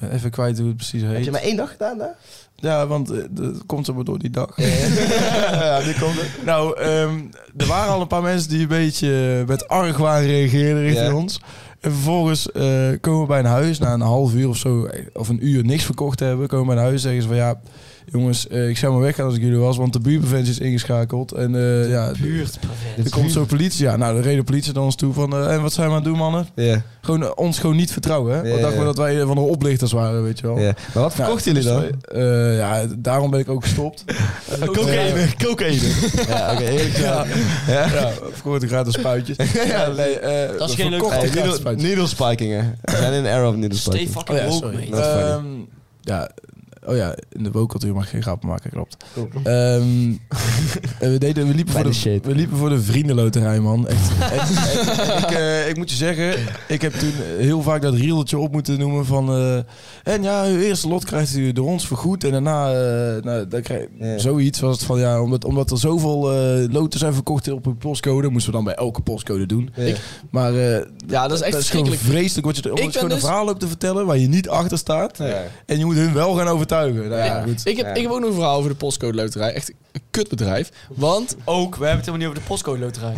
C: ben even kwijt hoe het precies
B: Heb
C: heet.
B: je maar één dag gedaan daar?
C: Ja, want eh, dat komt zo maar door die dag.
B: ja, die komt er.
C: Nou, ehm, er waren al een paar mensen die een beetje eh, met argwaan reageerden richting
B: Ja.
C: ons. En vervolgens eh, komen we bij een huis, na een half uur of zo, eh, of een uur niks verkocht te hebben, komen we bij een huis en zeggen ze van ja, jongens, eh, ik zou maar weggaan als ik jullie was, want de buurpreventie is ingeschakeld. En eh, ja,
D: Buurtprevent.
C: er komt zo politie. Ja, nou, de reden politie naar ons toe van, eh, en wat zijn we aan het doen mannen?
B: Ja,
C: Gewoon eh, ons gewoon niet vertrouwen, hè?
B: Ja,
C: Wat dachten
B: ja.
C: we dat wij eh, van de oplichters waren, weet je wel. Nou,
B: ja. Maar wat verkochten jullie dan?
C: Eh, ja, daarom ben ik ook gestopt.
B: eh,
D: Cocaïne, cocaïne.
B: Ja, oké, eerlijk
C: Ja,
B: gezegd.
C: ja. verkocht gratis spuitjes. ja, nee, eh,
D: Dat is geen leuk
C: verkocht
B: Hey,
C: gratis
B: needle,
C: spuitjes.
B: needle spikingen. We zijn in de era of needle
D: Stay
B: spiking.
D: fucking
C: Oh ja,
D: woke, mate.
C: sorry.
B: Dat is funny.
C: Ehm, ja, oh ja, in de wookcultuur mag je geen grappen maken, klopt. Ehm, en we, deden, we, liepen
B: Bij
C: voor
B: de
C: de,
B: shit.
C: we liepen voor de vriendenloterij, man. Echt, echt, echt. ik, eh, ik moet je zeggen, ik heb toen heel vaak dat rieltje op moeten noemen van... eh, en ja, uw eerste lot krijgt u door ons vergoed. En daarna, eh, nou, dan krijg,
B: Ja.
C: zoiets was het van... Ja, omdat, omdat er zoveel eh, loten zijn verkocht op een postcode... moesten we dan bij elke postcode doen.
B: Ja.
C: Maar eh,
E: Ja, dat is echt
C: dat is gewoon
E: verschrikkelijk.
C: vreselijk wat je er
E: Ik
C: gewoon
E: ben
C: een
E: dus-
C: verhaal loopt te vertellen waar je niet achter staat.
B: Ja.
C: En je moet hun wel gaan overtuigen. Nou, ja,
E: Ja.
C: goed.
E: Ik heb,
B: Ja.
E: ik heb ook nog een verhaal over de postcode loterij. Echt een kutbedrijf. Want
D: Ook, we hebben het helemaal niet over de postcode loterij.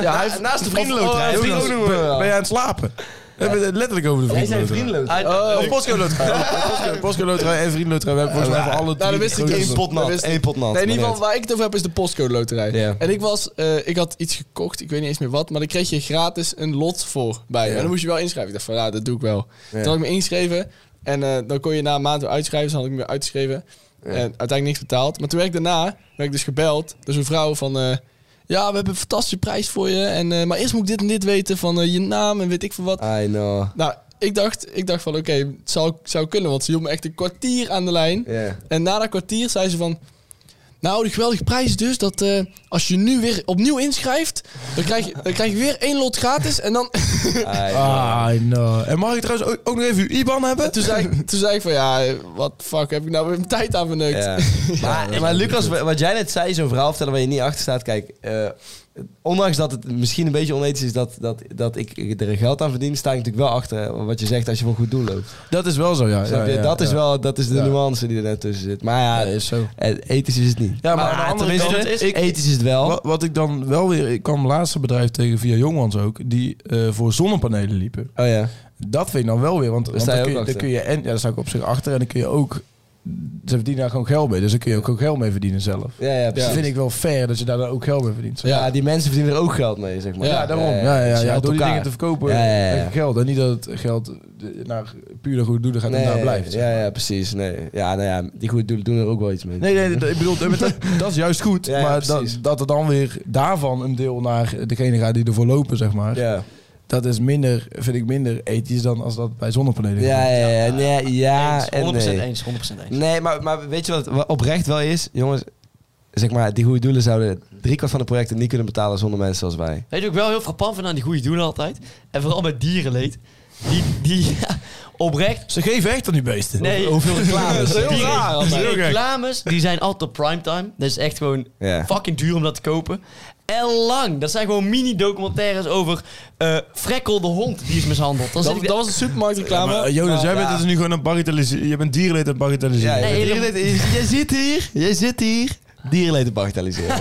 E: ja, hij heeft,
C: Naast de
D: vriendenloterij,
C: Oh,
D: ook
C: vrienden-
D: nog.
C: ben, ben je aan het slapen? We hebben het letterlijk over de vriendenloterij.
D: Ah,
C: Oh, Postcode loterij. Postcode- Postcode loterij en vriendenloterij. We hebben volgens mij voor alle drie
E: Nou, dan wist ik
C: grote-
E: eens.
B: Eén pot nat,
E: Dat is-
B: één pot nat.
E: nee, in ieder
B: maar
E: geval waar ik het over heb is de postcode loterij.
B: Ja.
E: En ik was, eh, ik had iets gekocht, ik weet niet eens meer wat, maar dan kreeg je gratis een lot voor bij. je. En dan moest je wel inschrijven. Ik dacht van, ja, dat doe ik wel. Toen had ik me ingeschreven en eh, dan kon je na een maand weer uitschrijven. Dus dan had ik me weer uitgeschreven en uiteindelijk niks betaald. Maar toen werd ik daarna, werd ik dus gebeld door zo'n vrouw van, eh, ja, we hebben een fantastische prijs voor je. En, eh, maar eerst moet ik dit en dit weten van eh, je naam en weet ik veel
D: Ah.
E: wat.
B: net. I know.
E: Nou, ik dacht, ik dacht van oké, het zou, zou kunnen. Want ze hield me echt een kwartier aan de lijn.
B: Ja.
E: En na dat kwartier zei ze van... Nou, de geweldige prijs is dus dat eh, als je nu weer opnieuw inschrijft... Dan krijg, je, dan krijg je weer één lot gratis. En dan,
B: I know.
C: Ah, no. En mag ik trouwens ook, ook nog even uw IBAN hebben?
E: toen, zei, ik- toen zei ik van ja, wat fuck heb ik nou weer mijn tijd aan verneukt.
B: Ja. Maar, maar Lucas, wa- wat jij net zei, zo'n verhaal vertellen waar je niet achter staat. Kijk, eh, ondanks dat het misschien een beetje onethisch is dat, dat, dat ik er geld aan verdien, sta ik natuurlijk wel achter hè, wat je zegt als je voor een goed doel loopt.
C: Dat is wel zo, ja.
B: Snap je?
C: Ja, ja,
B: dat, is
C: ja.
B: wel, dat is de
C: Ja.
B: nuance die er net tussen zit. Maar ja,
C: Ja, is zo.
B: eh, ethisch is het niet.
C: Ja, maar aan de andere
B: tenminste,
C: kant is- ik-
B: ethisch is het wel.
C: Wat, wat ik dan wel weer... Ik kwam laatst een bedrijf tegen via Jongmans ook... die eh, voor zonnepanelen liepen.
B: Oh ja.
C: Dat vind ik dan wel weer, want, want
B: sta je
C: dan, kun
B: ook
C: je, dan
B: achter.
C: kun je en ja, daar sta ik op zich achter en dan kun je ook ze verdienen daar gewoon geld mee, dus dan kun je ook, ook geld mee verdienen zelf.
B: Ja, ja,
C: Dus
B: precies.
C: dat vind ik wel fair dat je daar dan ook geld mee verdient.
B: Ja, die mensen verdienen er ook geld mee, zeg maar.
C: Ja, daarom. Ja, ja, ja,
B: Dus je helpt
C: door die
B: elkaar.
C: dingen te verkopen
B: Ja, ja, ja.
C: krijg je geld en niet dat het geld eh, naar pure goede doelen gaat en daar blijft. zeg
B: Ja,
C: maar.
B: ja, precies. Nee. Ja, nou ja, die goede doelen doen er ook wel iets mee.
C: Nee, nee, dat- ik bedoel, dat, dat- dat is juist goed,
B: Ja, ja,
C: maar dat,
B: precies.
C: dat er dan weer daarvan een deel naar degene gaat die ervoor lopen, zeg maar.
B: Ja,
C: Dat is minder, vind ik minder ethisch dan als dat bij zonnepanelen
B: ja,
C: gebeurt.
B: ja, ja, nee, ja
D: eens, 100%
B: en nee.
D: eens, 100% eens.
B: Nee, maar, maar weet je wat het oprecht wel is? Jongens, zeg maar, die goede doelen zouden driekwart van de projecten niet kunnen betalen zonder mensen als wij.
D: Weet je ook wel heel frappant van aan die goede doelen altijd? En vooral met dierenleed. Die, die oprecht...
C: Ze geven echt aan die beesten.
D: Nee,
C: Hoeveel reclames.
D: die,
C: Die-
D: die
C: Heel gek.
D: reclames die zijn altijd op primetime. Dat is echt gewoon
B: Ja.
D: fucking duur om dat te kopen. En lang. Dat zijn gewoon mini-documentaires over eh Frekkel de hond die is mishandeld. Dan zit
E: Dat,
D: ik-
E: dat was een supermarktreclame.
C: Maar, eh, Jonas, jij bent
B: ja.
C: dus nu gewoon een bagatelliseren. Je bent dierenleed aan het bagatelliseren.
B: Ja,
D: Nee,
B: je,
D: helemaal-
B: je- je zit hier, je zit hier. Dierenleden bagatelliseren.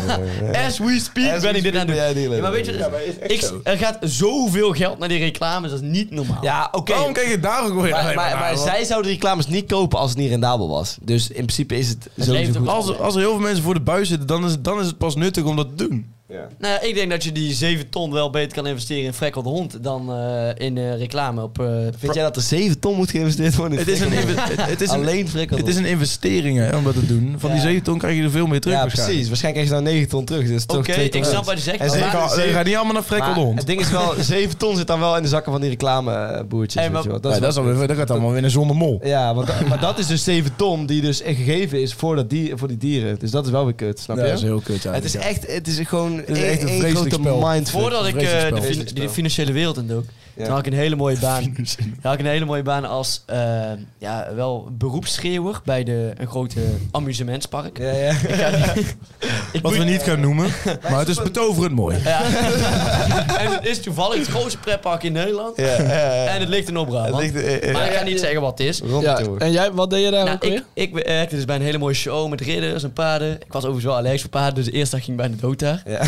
D: As we speak
B: As
D: ben
B: we
D: ik dit
B: speak
D: aan het
B: ben jij
D: doen.
B: dierenleed.
D: Ja, maar weet je, ik, er gaat zoveel geld naar die reclames, dat is niet normaal.
B: ja, oké.
C: Waarom kijk je daar ook weer
B: Maar,
C: alleen
B: maar,
C: naar,
B: maar
C: man?
B: zij zouden die reclames niet kopen als het niet rendabel was. Dus in principe is het, sowieso
D: levert
B: goed.
D: ook
C: als, als er heel veel mensen voor de buis zitten, dan is, het- dan is het pas nuttig om dat te doen.
D: Nou, ja, ik denk dat je die 7 ton wel beter kan investeren in Frekkel de hond dan eh, in eh, reclame op... eh,
B: Vind
D: pro-
B: jij dat er 7 ton moet geïnvesteerd worden? in
C: Het is een,
B: Frekkel?
C: inve- het- het is een,
B: Alleen Frekkel.
C: het is een investering hè, om dat te doen. Van die
D: Ja.
C: 7 ton krijg je er veel meer terug.
B: ja,
C: waarschijnlijk.
B: precies. Waarschijnlijk krijg je dan 9 ton terug. Dus toch
D: Oké,
B: twee ton
D: ik snap
B: winst.
D: wat je zegt.
B: En
D: maar-
C: Ze
B: zeker
C: gaan-
B: als-
C: Ze gaan niet allemaal naar
B: Maar
C: Frekkel de hond.
B: Het ding is wel, 7 ton zit dan wel in de zakken van die reclameboertjes.
D: Hey, maar-
B: weet je wel. Dat
C: Ja,
B: is
C: dat, is alweer, dat gaat allemaal weer naar zonder mol.
B: Ja, want, da- maar dat is dus 7 ton die dus echt gegeven is voor, dat dier, voor die dieren. Dus dat is wel weer kut, snap
C: Ja,
B: je?
C: dat is heel kut
B: het is
C: eigenlijk,
B: echt, het is gewoon
C: is
B: één-
C: echt een
B: één
C: vreselijk
B: grote
C: spel.
B: mindfuck.
D: Voordat ik eh,
C: Vreselijk
D: de,
C: spel.
D: fin- de financiële wereld in dook, Toen had ik een hele mooie baan. Toen had ik een hele mooie baan als eh, ja, wel beroepsschreeuwer bij de, een grote amusementspark.
B: Ja, ja.
D: Ik
C: Wat we
D: moet-
C: niet gaan noemen, maar het is betoverend mooi.
D: Ja. en het is toevallig het grootste pretpark in Nederland.
B: ja, ja, ja.
D: En het ligt in Opbrabant.
B: Het ligt, eh, eh,
D: maar ik ga niet zeggen wat het is.
B: Rond
E: Ja,
B: toe.
E: en jij, wat deed je daar
D: Nou,
E: ook
D: ik,
E: weer?
D: ik werkte dus bij een hele mooie show met ridders en paarden. Ik was overigens wel allergisch voor paarden, dus de eerste dag ging ik bijna dood daar.
B: Ja.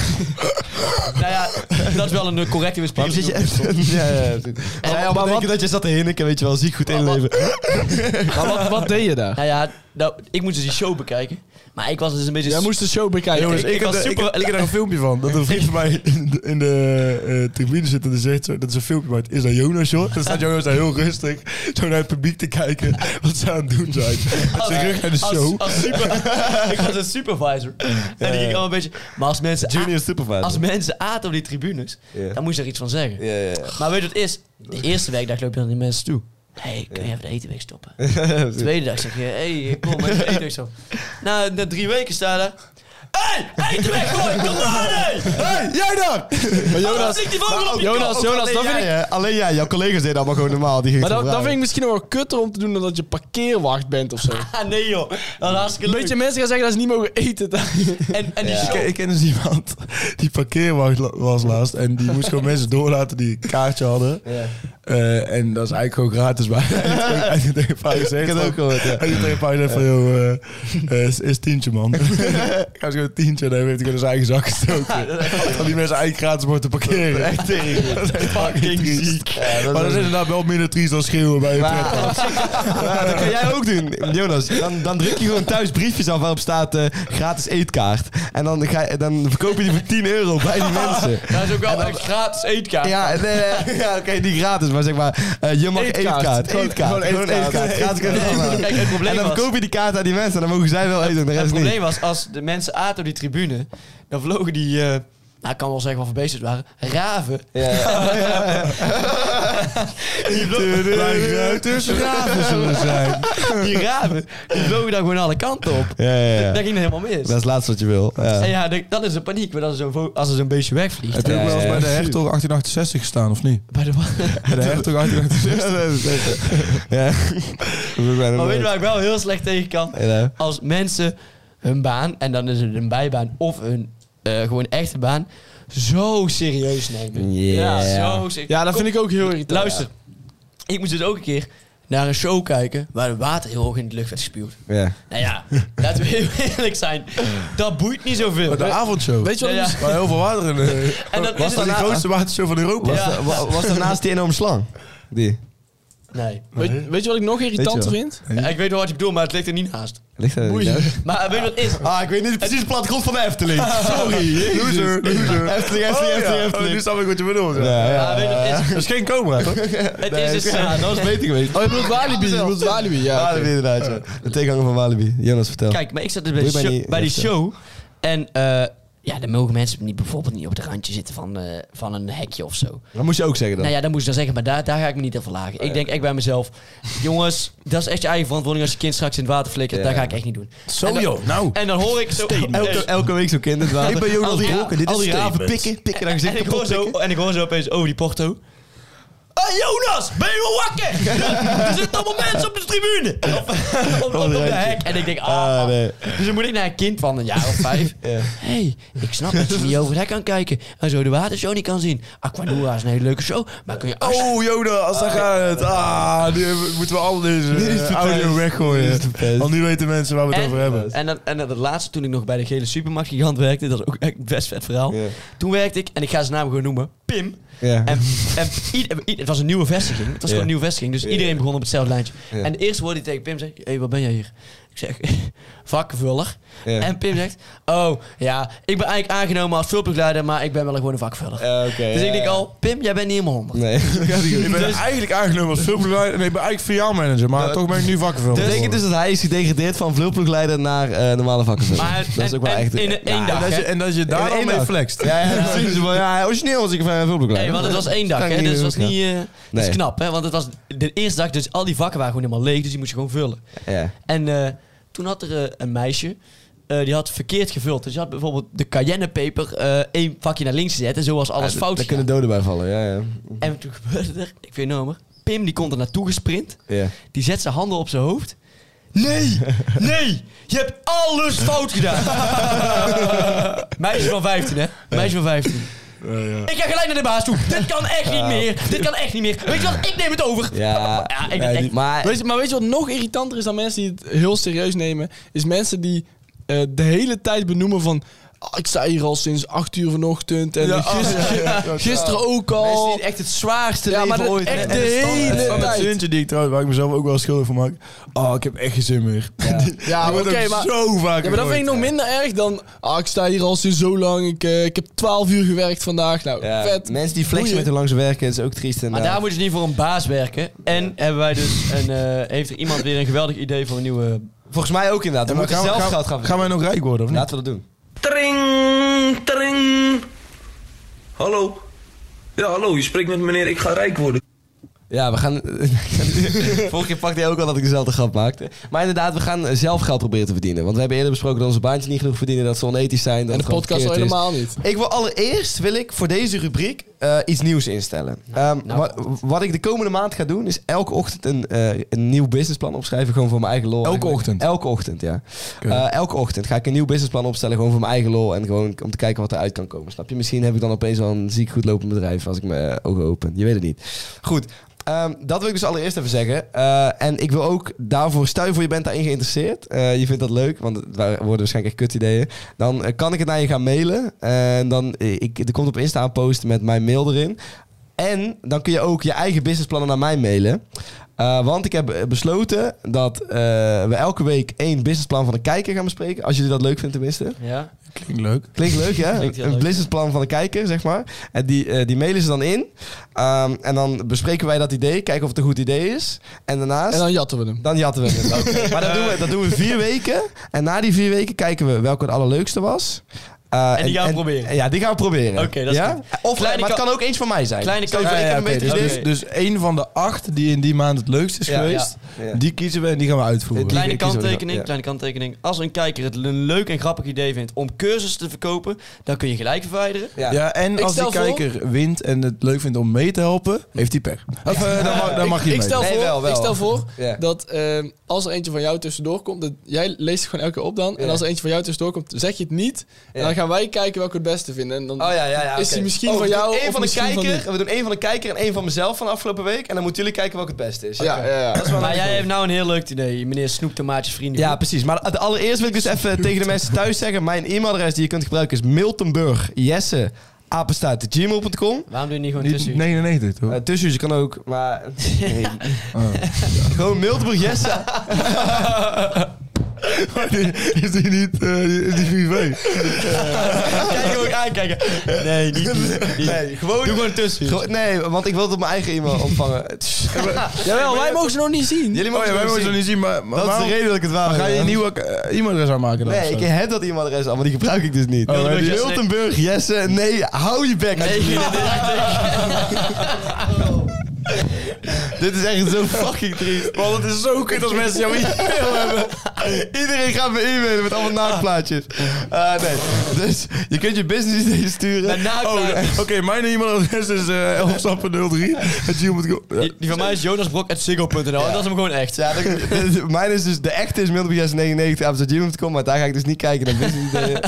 D: nou ja, dat is wel een correcte
B: Waarom
D: weerspiegeling.
B: zit je echt... ja, ja, ja.
D: ja, maar
B: maar
D: wat-
B: dat je zat te hinniken, weet je wel, ziek goed inleven.
E: Maar wat, wat deed je daar?
D: Nou ja, nou, ik moest dus die show bekijken. Maar ik was dus een beetje...
E: Jij moest de show bekijken.
C: Jongens,
D: ik-
C: ik,
D: ik
C: heb
D: was
C: daar- ik,
D: super-
C: heb- ik heb daar een filmpje van. Dat een vriend van mij in de, in de, eh, tribune zit en die zegt... Zo, dat is een filmpje, maar het is dat Jonas, joh? Dan staat Jonas daar heel rustig zo naar het publiek te kijken wat ze aan het doen zijn. Met zijn rug naar de
D: als-
C: show.
D: als super- ik was een supervisor. En die ging al een beetje... Maar als mensen, a-
B: Junior supervisor.
D: als mensen aten op die tribunes,
B: Ja.
D: dan moest je er iets van zeggen.
B: Ja, ja, ja.
D: Maar weet je wat het is? De eerste weekdag loop je naar die mensen toe. Hé, hey, kun je even de eten weg stoppen? De tweede dag zeg je, hé, hey, kom, even de eten weg stoppen. Na, na drie weken sta je daar. Hé, hey, eten weg, gooi, kom aan, hé!
C: hey, jij daar!
E: Maar
D: Waarom
E: Jonas,
D: zit die vogel op je kop?
E: Jonas,
D: Oh,
E: Jonas, dat vind
B: alleen,
E: ik-
B: jij, hè? alleen jij, jouw collega's deden allemaal gewoon normaal. Die gingen
E: maar dat,
B: gewoon
E: dat vind
B: vragen.
E: ik misschien nog wel kutter om te doen dan dat je parkeerwacht bent of zo.
D: Ah, nee joh, dat is hartstikke
E: Een
D: leuk.
E: beetje mensen gaan zeggen dat ze niet mogen eten.
D: En, en die
C: Ik,
D: show,
C: ken- ik ken dus iemand die parkeerwacht la- was laatst. En die moest gewoon mensen doorlaten die een kaartje hadden. Eh, en dat is eigenlijk gewoon gratis. Maar hij heeft tegen Paul gezegd...
B: Ik heb het ook gehoord, ja.
C: Hij heeft tegen Paul gezegd van... Joh, eh, eh, is, is tientje, man. Hij was gewoon tientje. En hij heeft hij gewoon in zijn eigen zak gestoken. Dat die mensen eigenlijk gratis mochten parkeren. Echt
B: tering.
C: Dat is echt fucking ziek. maar dat is inderdaad wel minder triest dan schreeuwen bij een pretpark.
B: Ja, dat kan jij ook doen, Jonas. Dan, dan druk je gewoon thuis briefjes af waarop staat eh, gratis eetkaart. En dan, ga, je- dan verkoop je die voor 10 euro bij die mensen.
D: dat is ook wel een gratis eetkaart.
B: Ja, nee,
D: eh,
B: nee, ja oké, niet gratis, maar zeg maar, eh, je mag
E: Eetkaart.
B: eetkaart.
E: Gewoon-
B: Eetkaart.
E: gewoon
B: Gewoon
E: eetkaart.
B: eetkaart. Gratis kan je allemaal.
D: Kijk, het probleem
B: En dan
D: was-
B: verkoop je die kaart aan die mensen en dan mogen zij wel eten en de
D: Het
B: rest niet.
D: probleem was, als de mensen aten op die tribune, dan vlogen die, eh, nou ik kan wel zeggen wat voor beesten het waren, raven.
B: Ja, ja.
D: Die vlogen,
C: Mijn ruiters graven zullen zijn.
D: die raven, die vlogen dan gewoon alle kanten op.
B: Ja, ja, ja.
D: Dat ging helemaal mis.
B: Dat is het laatste wat je wil.
D: En
B: Ja.
D: ja, de- dat is een paniek, maar dat is zo'n vo- als er zo'n beestje wegvliegt.
C: Heb je ook wel eens
B: Ja,
C: bij de
B: ja.
C: hertog 1868 gestaan, of niet?
D: Bij de wa-
C: Bij de hertog 1868.
B: Ja. Dat wil ik bijna
D: maar weet
B: nooit.
D: je waar ik wel heel slecht tegen kan?
B: Ja.
D: Als mensen hun baan, en dan is het een bijbaan of een eh, gewoon echte baan, zo serieus nemen.
B: Ja.
D: Ja, zo serieus.
E: Ja, dat vind ik ook heel
D: Ja.
E: irritant.
D: Luister, ik moest dus ook een keer naar een show kijken waar het water heel hoog in de lucht werd gespuwd.
B: Ja.
D: Nou ja, laten we heel eerlijk zijn. Dat boeit niet zoveel.
C: Bij de avondshow.
E: Weet je wat?
D: Ja, ja.
E: het is?
C: Waar heel veel water in. eh,
D: En dat
C: was
D: is
C: dat de
D: daarna-
C: grootste watershow van Europa?
D: Ja.
B: Wa- Was er naast die enorme slang? Die.
D: Nee.
E: Weet, weet je wat ik nog irritanter
B: Weet je
E: vind?
D: Ja, ik weet wel wat je bedoelt, maar het ligt er niet naast.
B: Ligt er Boeien.
D: Maar eh, weet je wat het is?
B: Ah, ik weet niet precies het platgrond van de Efteling. Sorry.
C: Loser, loser.
B: Efteling,
C: Oh,
B: Efteling,
C: ja.
B: Efteling,
C: Oh, nu
B: Efteling.
C: snap ik wat je bedoelt. Ja.
B: Ja,
D: Ah, weet je wat het is?
C: Dat is geen cobra, toch?
D: Het is dus...
B: Ja,
D: eh,
B: dat was beter geweest.
E: Oh, je bedoelt Walibi. Je bedoelt Walibi, ja. oké.
B: Walibi inderdaad, ja. De tegenhanger van Walibi. Jonas, vertel.
D: Kijk, maar ik zat dus bij,
B: Moet
D: die
B: je bij
D: show,
B: die-
D: bij die
B: ja,
D: show en... eh, ja, dan mogen mensen niet, bijvoorbeeld niet op het randje zitten van, eh, van een hekje of zo.
B: Dat moest je ook zeggen dan.
D: Nou ja, dan moest je dan zeggen, maar daar, daar ga ik me niet aan verlagen. Ik denk echt bij mezelf, jongens, dat is echt je eigen verantwoording als je kind straks in het water flikkert.
B: Ja.
D: Dat ga ik echt niet doen. En
C: Zo
D: dan-
C: joh, nou.
D: En dan hoor ik zo...
B: Elke, elke week zo kind het water.
C: Ik ben Jonas
B: Al die ra-
C: Brokken, dit is
B: Al die raven
C: statement.
B: pikken, pikken naar
D: En
B: gezicht.
D: ik, hoor zo, en ik hoor zo opeens over die porto. Hey Jonas, ben je wel wakker? Er- er zitten allemaal mensen op de tribune. Of of- of op, de
B: randje.
D: hek. En ik denk, ah,
B: Ah,
D: man.
B: nee.
D: Dus dan moet ik naar een kind van een jaar of vijf. Hé, hey, ik snap dat je niet over het hek kan kijken. En zo de watershow niet kan zien. Aquanura is een hele leuke show. Maar kun je... alsje-
C: Oh, Jonas, daar gaat het. Ah, nu hebben- moeten we al deze
B: Dit is
C: eh,
B: verpest.
C: audio
B: Dit
C: weggooien.
B: is verpest.
C: Want nu weten mensen waar we het
D: En-
C: over hebben.
D: En, dan, en dan het laatste, toen ik nog bij de gele supermarktgigant werkte, dat is ook echt een best vet verhaal.
B: Ja.
D: Toen werkte ik, en ik ga zijn naam gewoon noemen, Pim.
B: Ja.
D: En, en ied- ied- het was een nieuwe vestiging. Het was gewoon een nieuwe vestiging, dus iedereen begon op hetzelfde lijntje.
B: Ja.
D: En de eerste woord die tegen Pim zei, hé, hey, wat ben jij hier? Ik zeg, vakvuller.
B: Ja.
D: En Pim zegt, oh ja, ik ben eigenlijk aangenomen als vulpbegeleider, maar ik ben wel gewoon een vakvuller.
B: Ja, oké,
D: dus
B: ja,
D: ik denk
B: ja.
D: al, Pim, jij bent niet helemaal honderd.
B: Nee.
C: Ik ben eigenlijk aangenomen als filmpbegeleider. Nee, ik ben eigenlijk VR-manager, maar
B: Ja.
C: toch ben ik nu vakkenfilm.
B: Dat betekent dus dat hij is gedegradeerd van vlulploegleider naar eh, normale vakken.
D: Maar-
B: dat is
D: en-
B: ook wel
D: en-
B: echt...
D: in een- één dag,
C: En dat je,
D: hè?
C: en dat je daar
B: één
C: al mee
B: dag.
C: flext.
B: Ja, ja, precies. Van, ja, origineel was ik van
D: Nee,
B: vlulploegleider.
D: want het was één dag,
B: Kan ik
D: hè?
B: niet
D: Dus het was
B: doen,
D: niet... eh, Dat is
B: Nee.
D: knap, hè? Want het was de eerste dag, dus al die vakken waren gewoon helemaal leeg, dus die moest je gewoon vullen.
B: Ja.
D: En eh, toen had er eh, een meisje, eh, eh, die had verkeerd gevuld. Dus je had bijvoorbeeld de cayennepeper eh één vakje naar links gezet. En zo was alles
B: Ja,
D: fout.
B: Daar kunnen doden bij vallen, ja, ja.
D: gegaan. En toen gebeurde er, ik weet niet meer. Pim die komt er naartoe gesprint.
B: ja.
D: Die zet zijn handen op zijn hoofd. Nee, nee, je hebt alles fout gedaan. Meisje van 15, hè? Meisje van 15. Ik ga gelijk naar de baas toe. Dit kan echt niet meer. Dit kan echt niet meer. Weet je wat? Ik neem het over.
B: Ja,
D: Ja, ik ben
B: ja, die-
D: echt-
B: maar
E: Weet je, maar weet je wat nog irritanter is dan mensen die het heel serieus nemen? Is mensen die eh, de hele tijd benoemen van... "Ah, ik sta hier al sinds 8 uur vanochtend en
C: Ja,
E: gisteren,
C: oh, ja, ja, ja.
E: gisteren ook
D: Mensen
E: al.
B: Oh.
D: die echt het zwaarste
E: Ja, maar
D: leven
E: dat-
D: ooit
E: echt
D: hebben.
E: de hele
C: En dat
E: tijd.
C: zoontje die ik trouwens, waar ik mezelf ook wel schuldig van maak. Oh, ik heb echt geen zin meer.
E: Ja,
C: Die
E: maar
C: wordt
E: oké,
C: ook
E: maar...
C: zo vaak
E: Ja, maar dat vind
C: gegooid.
E: ik nog minder erg dan... Ah, ik sta hier al sinds zo lang. Ik, eh, ik heb 12 uur gewerkt vandaag. Nou,
B: ja,
E: vet.
B: mensen die flexen
E: Boeien.
B: met hoe lang ze werken, is ook triest.
D: Maar daar moet je niet voor een baas werken. En hebben wij dus een, eh, heeft er iemand weer een geweldig idee voor een nieuwe...
B: Volgens mij ook inderdaad.
C: Ja,
B: Dan
C: maar
B: moet je
C: gaan, we-
B: zelf
C: gaan,
B: geld gaan
C: gaan wij nog rijk worden of niet?
B: Laten we dat doen.
F: Tring, tring. Hallo. Ja, hallo, je spreekt met meneer Ik ga rijk worden.
B: Ja, we gaan... Vorige keer pakte jij ook al dat ik dezelfde grap maakte. Maar inderdaad, we gaan eh, zelf geld proberen te verdienen. Want we hebben eerder besproken dat onze baantjes niet genoeg verdienen, dat ze onethisch zijn. Dat
E: en de
B: het gewoon
E: podcast al
B: verkeerd is.
E: helemaal niet.
B: Ik wil allereerst wil ik voor deze rubriek eh, iets nieuws instellen. Ehm, wa- wat ik de komende maand ga doen, is elke ochtend een, eh, een nieuw businessplan opschrijven. Gewoon voor mijn eigen lol.
C: Elke
B: Eigenlijk-
C: ochtend?
B: Elke ochtend, ja. Eh, elke ochtend ga ik een nieuw businessplan opstellen. Gewoon voor mijn eigen lol. En gewoon om te kijken wat eruit kan komen. Snap je? Misschien heb ik dan opeens wel een ziek goed lopend bedrijf als ik mijn eh, ogen open. Je weet het niet. Goed. ehm, dat wil ik dus allereerst even zeggen. Eh, en ik wil ook daarvoor, stel je voor je bent daarin geïnteresseerd. eh, je vindt dat leuk, want het wa- worden waarschijnlijk echt kutideeën. Dan eh, kan ik het naar je gaan mailen. en dan, eh, ik, er komt op Insta een post met mijn mail erin. En dan kun je ook je eigen businessplannen naar mij mailen. Eh, want ik heb eh, besloten dat eh, we elke week één businessplan van een kijker gaan bespreken. Als jullie dat leuk vinden tenminste.
D: Ja?
C: Klinkt leuk.
B: Klinkt leuk, hè?
D: Klinkt heel
B: een
D: leuk.
B: businessplan van de kijker, zeg maar. En die, eh, die mailen ze dan in. Ehm, en dan bespreken wij dat idee, kijken of het een goed idee is. En daarnaast...
E: En
B: dan...
E: dan jatten we hem.
B: jatten we het. Maar dat doen we, dat doen we vier weken. En na die vier weken kijken we welke het allerleukste was. Eh,
D: En die gaan we proberen.
B: Ja, die gaan we proberen.
D: Oké, dat is
B: ja?
D: goed.
B: Of, eh,
D: Kleine
B: maar het
D: ka-
B: kan ook eens van mij zijn.
D: Kleine
B: Stel je voor,
D: kans-
B: ik
D: Ja,
B: heb
D: ja,
B: een
D: oké,
B: betere
D: dat is
B: idee.
D: Oké.
C: Dus één van de acht die in die maand het leukst is
B: Ja,
C: geweest,
B: ja.
C: die kiezen we en die gaan we uitvoeren.
B: Die-
D: Kleine
B: kiezen we wel,
D: kanttekening,
B: ja.
D: kleine kanttekening. Als een kijker het een leuk en grappig idee vindt om cursussen te verkopen, dan kun je gelijk verwijderen.
B: Ja.
C: Ja, en
E: Ik
C: als die
E: stel voor-
C: kijker wint en het leuk vindt om mee te helpen, heeft hij pech. Of, eh, dan, mag, dan mag je
E: Ik
C: mee.
E: stel,
B: Nee,
E: voor,
B: wel, wel.
E: ik stel voor
B: Ja.
E: dat ehm, als er eentje van jou tussendoor komt, dat, jij leest het gewoon elke keer op dan. En
B: Ja.
E: als er eentje van jou tussendoor komt, zeg je het niet. En
B: Ja.
E: dan gaan wij kijken welke het beste vinden. En dan
B: Oh ja, ja, ja.
E: Is
B: oké.
E: die misschien
B: Oh,
E: van
B: we doen
E: jou
B: één van
E: of
B: de
E: misschien van
B: kijker, We doen één van de kijker en één van mezelf van de afgelopen week. En dan moeten jullie kijken welke het beste is.
E: Oh, Ja,
B: Oké.
E: ja, ja.
B: Dat is wel
D: Maar
B: een
D: jij
B: idee.
D: hebt nou een heel leuk idee, meneer Snoeptomaatjes vrienden.
B: Ja, precies. Maar de- allereerst wil ik dus even tegen de mensen thuis zeggen... mijn e-mailadres die je kunt gebruiken is miltenburgjesse@gmail.com.
D: Waarom doe je niet gewoon
C: Niet
D: tussen?
C: 99, toch?
B: Eh tussen je kan ook, maar... Nee.
E: Oh.
B: Gewoon miltenburgjesse.
C: is die niet eh, is die privé?
D: Kijk ook aankijken. Nee, niet. niet, niet.
B: Nee, gewoon... Doe gewoon tussen. Nee, want ik wil het op mijn eigen e-mail ontvangen.
E: Jawel, wij mogen ze nog niet zien.
B: Jullie
C: Oh ja,
B: mogen
C: wij
B: het
C: moeten
B: gewoon
C: het
B: zien.
C: niet zien, maar,
B: Dat
C: maar
B: is de
C: waarom-
B: reden dat ik het waar
C: maar ga je een nieuwe eh, e-mailadres aanmaken dan?
B: Nee, ik heb dat e-mailadres al, maar die gebruik ik dus niet.
C: Oh, maar die-
B: Miltenburg, Jesse, nee, hou je bek. alsjeblieft. Dit is echt zo fucking triest. Want het is zo kut als mensen jouw e-mail hebben. Iedereen gaat me e-mailen met allemaal naaktplaatjes. Eh, nee, dus je kunt je business idee sturen.
D: Met naaktplaatjes.
C: Oh, eh, Oké, mijn e-mailadres is eh 11stappen03. Het Gmail moet ik-
D: Die, die van mij is jonasbrok.siggo.nl. Dat is hem gewoon echt.
B: Ja, dat- dit- mijn is dus de echte is mildenburgjesse99.gmail.com, maar daar ga ik dus niet kijken naar business ideeën.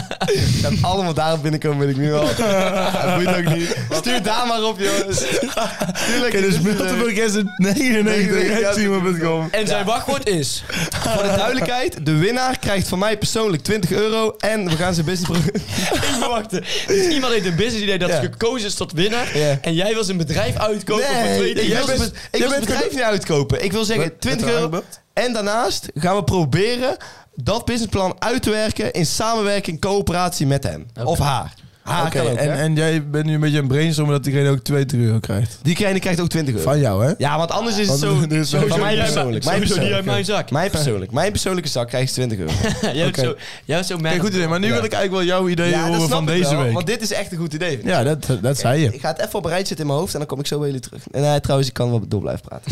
B: Dat allemaal daarop binnenkomen weet ik nu al. Dat moet ook niet. Stuur daar maar op, jongens. Stuur
C: Oké,
B: lekker
C: dus
B: business ideeën.
C: Miltenburg is het 99 at gmail.com.
D: En zijn wachtwoord is...
B: Voor de duidelijkheid, de winnaar krijgt van mij persoonlijk 20 euro en we gaan zijn business...
D: Ik verwachtte. Dus iemand heeft een business idee dat
B: Ja.
D: gekozen is tot winnaar.
B: Ja.
D: En jij wil zijn bedrijf uitkopen voor
B: Nee,
D: 2000
B: ik wil,
D: euro.
B: het bes- ik wil het bedrijf niet uitkopen. Ik wil zeggen,
C: Wat?
B: 20
C: Wat
B: euro.
C: aanbod?
B: En daarnaast gaan we proberen dat businessplan uit te werken in samenwerking, coöperatie met hem. Of haar. Haar
C: Oké,
B: kan ook,
C: en,
B: hè?
C: en jij bent nu een beetje aan het brainstormen dat diegene ook 20 euro krijgt.
B: Diegene krijgt ook 20 euro.
C: Van jou, hè?
B: Ja, want anders is het
C: Want
B: zo...
C: dit is sowieso
B: van mij
C: niet uit-
B: persoonlijk. Mijn
D: Sowieso niet
B: persoonlijk.
D: uit mijn zak.
B: Mijn persoonlijk. Mijn persoonlijke zak krijgt 20 euro.
D: jij bent zo, jij bent zo man
C: Oké, goed idee. Maar nu wil ik eigenlijk wel jouw idee horen van
B: ik
C: deze
B: wel,
C: week.
B: Want dit is echt een goed idee.
C: Ja, dat, dat zei je.
B: Ik ga het even op een rijtje zitten in mijn hoofd en dan kom ik zo bij jullie terug. En nee, trouwens, ik kan wel door blijven praten.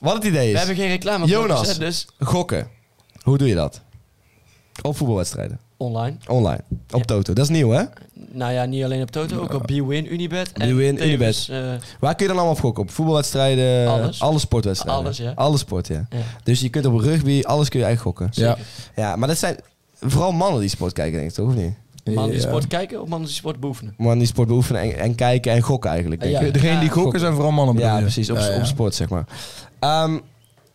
B: Wat het idee is.
D: We hebben geen reclame.
B: Jonas.
D: Dus
B: Gokken. Hoe doe je dat? Op voetbalwedstrijden.
D: Online.
B: Online. Op
D: Ja.
B: Toto. Dat is nieuw, hè?
D: Nou ja, niet alleen op Toto, ook op BWin, Unibet. en
B: BWin,
D: tevens, eh,
B: Waar kun je dan allemaal op gokken? Op voetbalwedstrijden?
D: Alles.
B: Alle sportwedstrijden?
D: Alles, ja.
B: Alle sport, ja.
D: Ja.
B: Dus je kunt op rugby, alles kun je eigenlijk gokken.
C: Ja.
B: Ja, maar dat zijn vooral mannen die sport kijken, denk ik, toch? Of niet?
D: mannen die
C: Ja.
D: sport kijken of mannen die sport beoefenen?
B: Mannen die sport beoefenen en, en kijken en gokken eigenlijk. Denk
D: Ja.
B: ik.
C: Degene die gokken zijn vooral mannen, bedoel
B: Ja,
C: je?
B: precies. Op,
C: Ja, ja.
B: op sport, zeg maar. Ehm,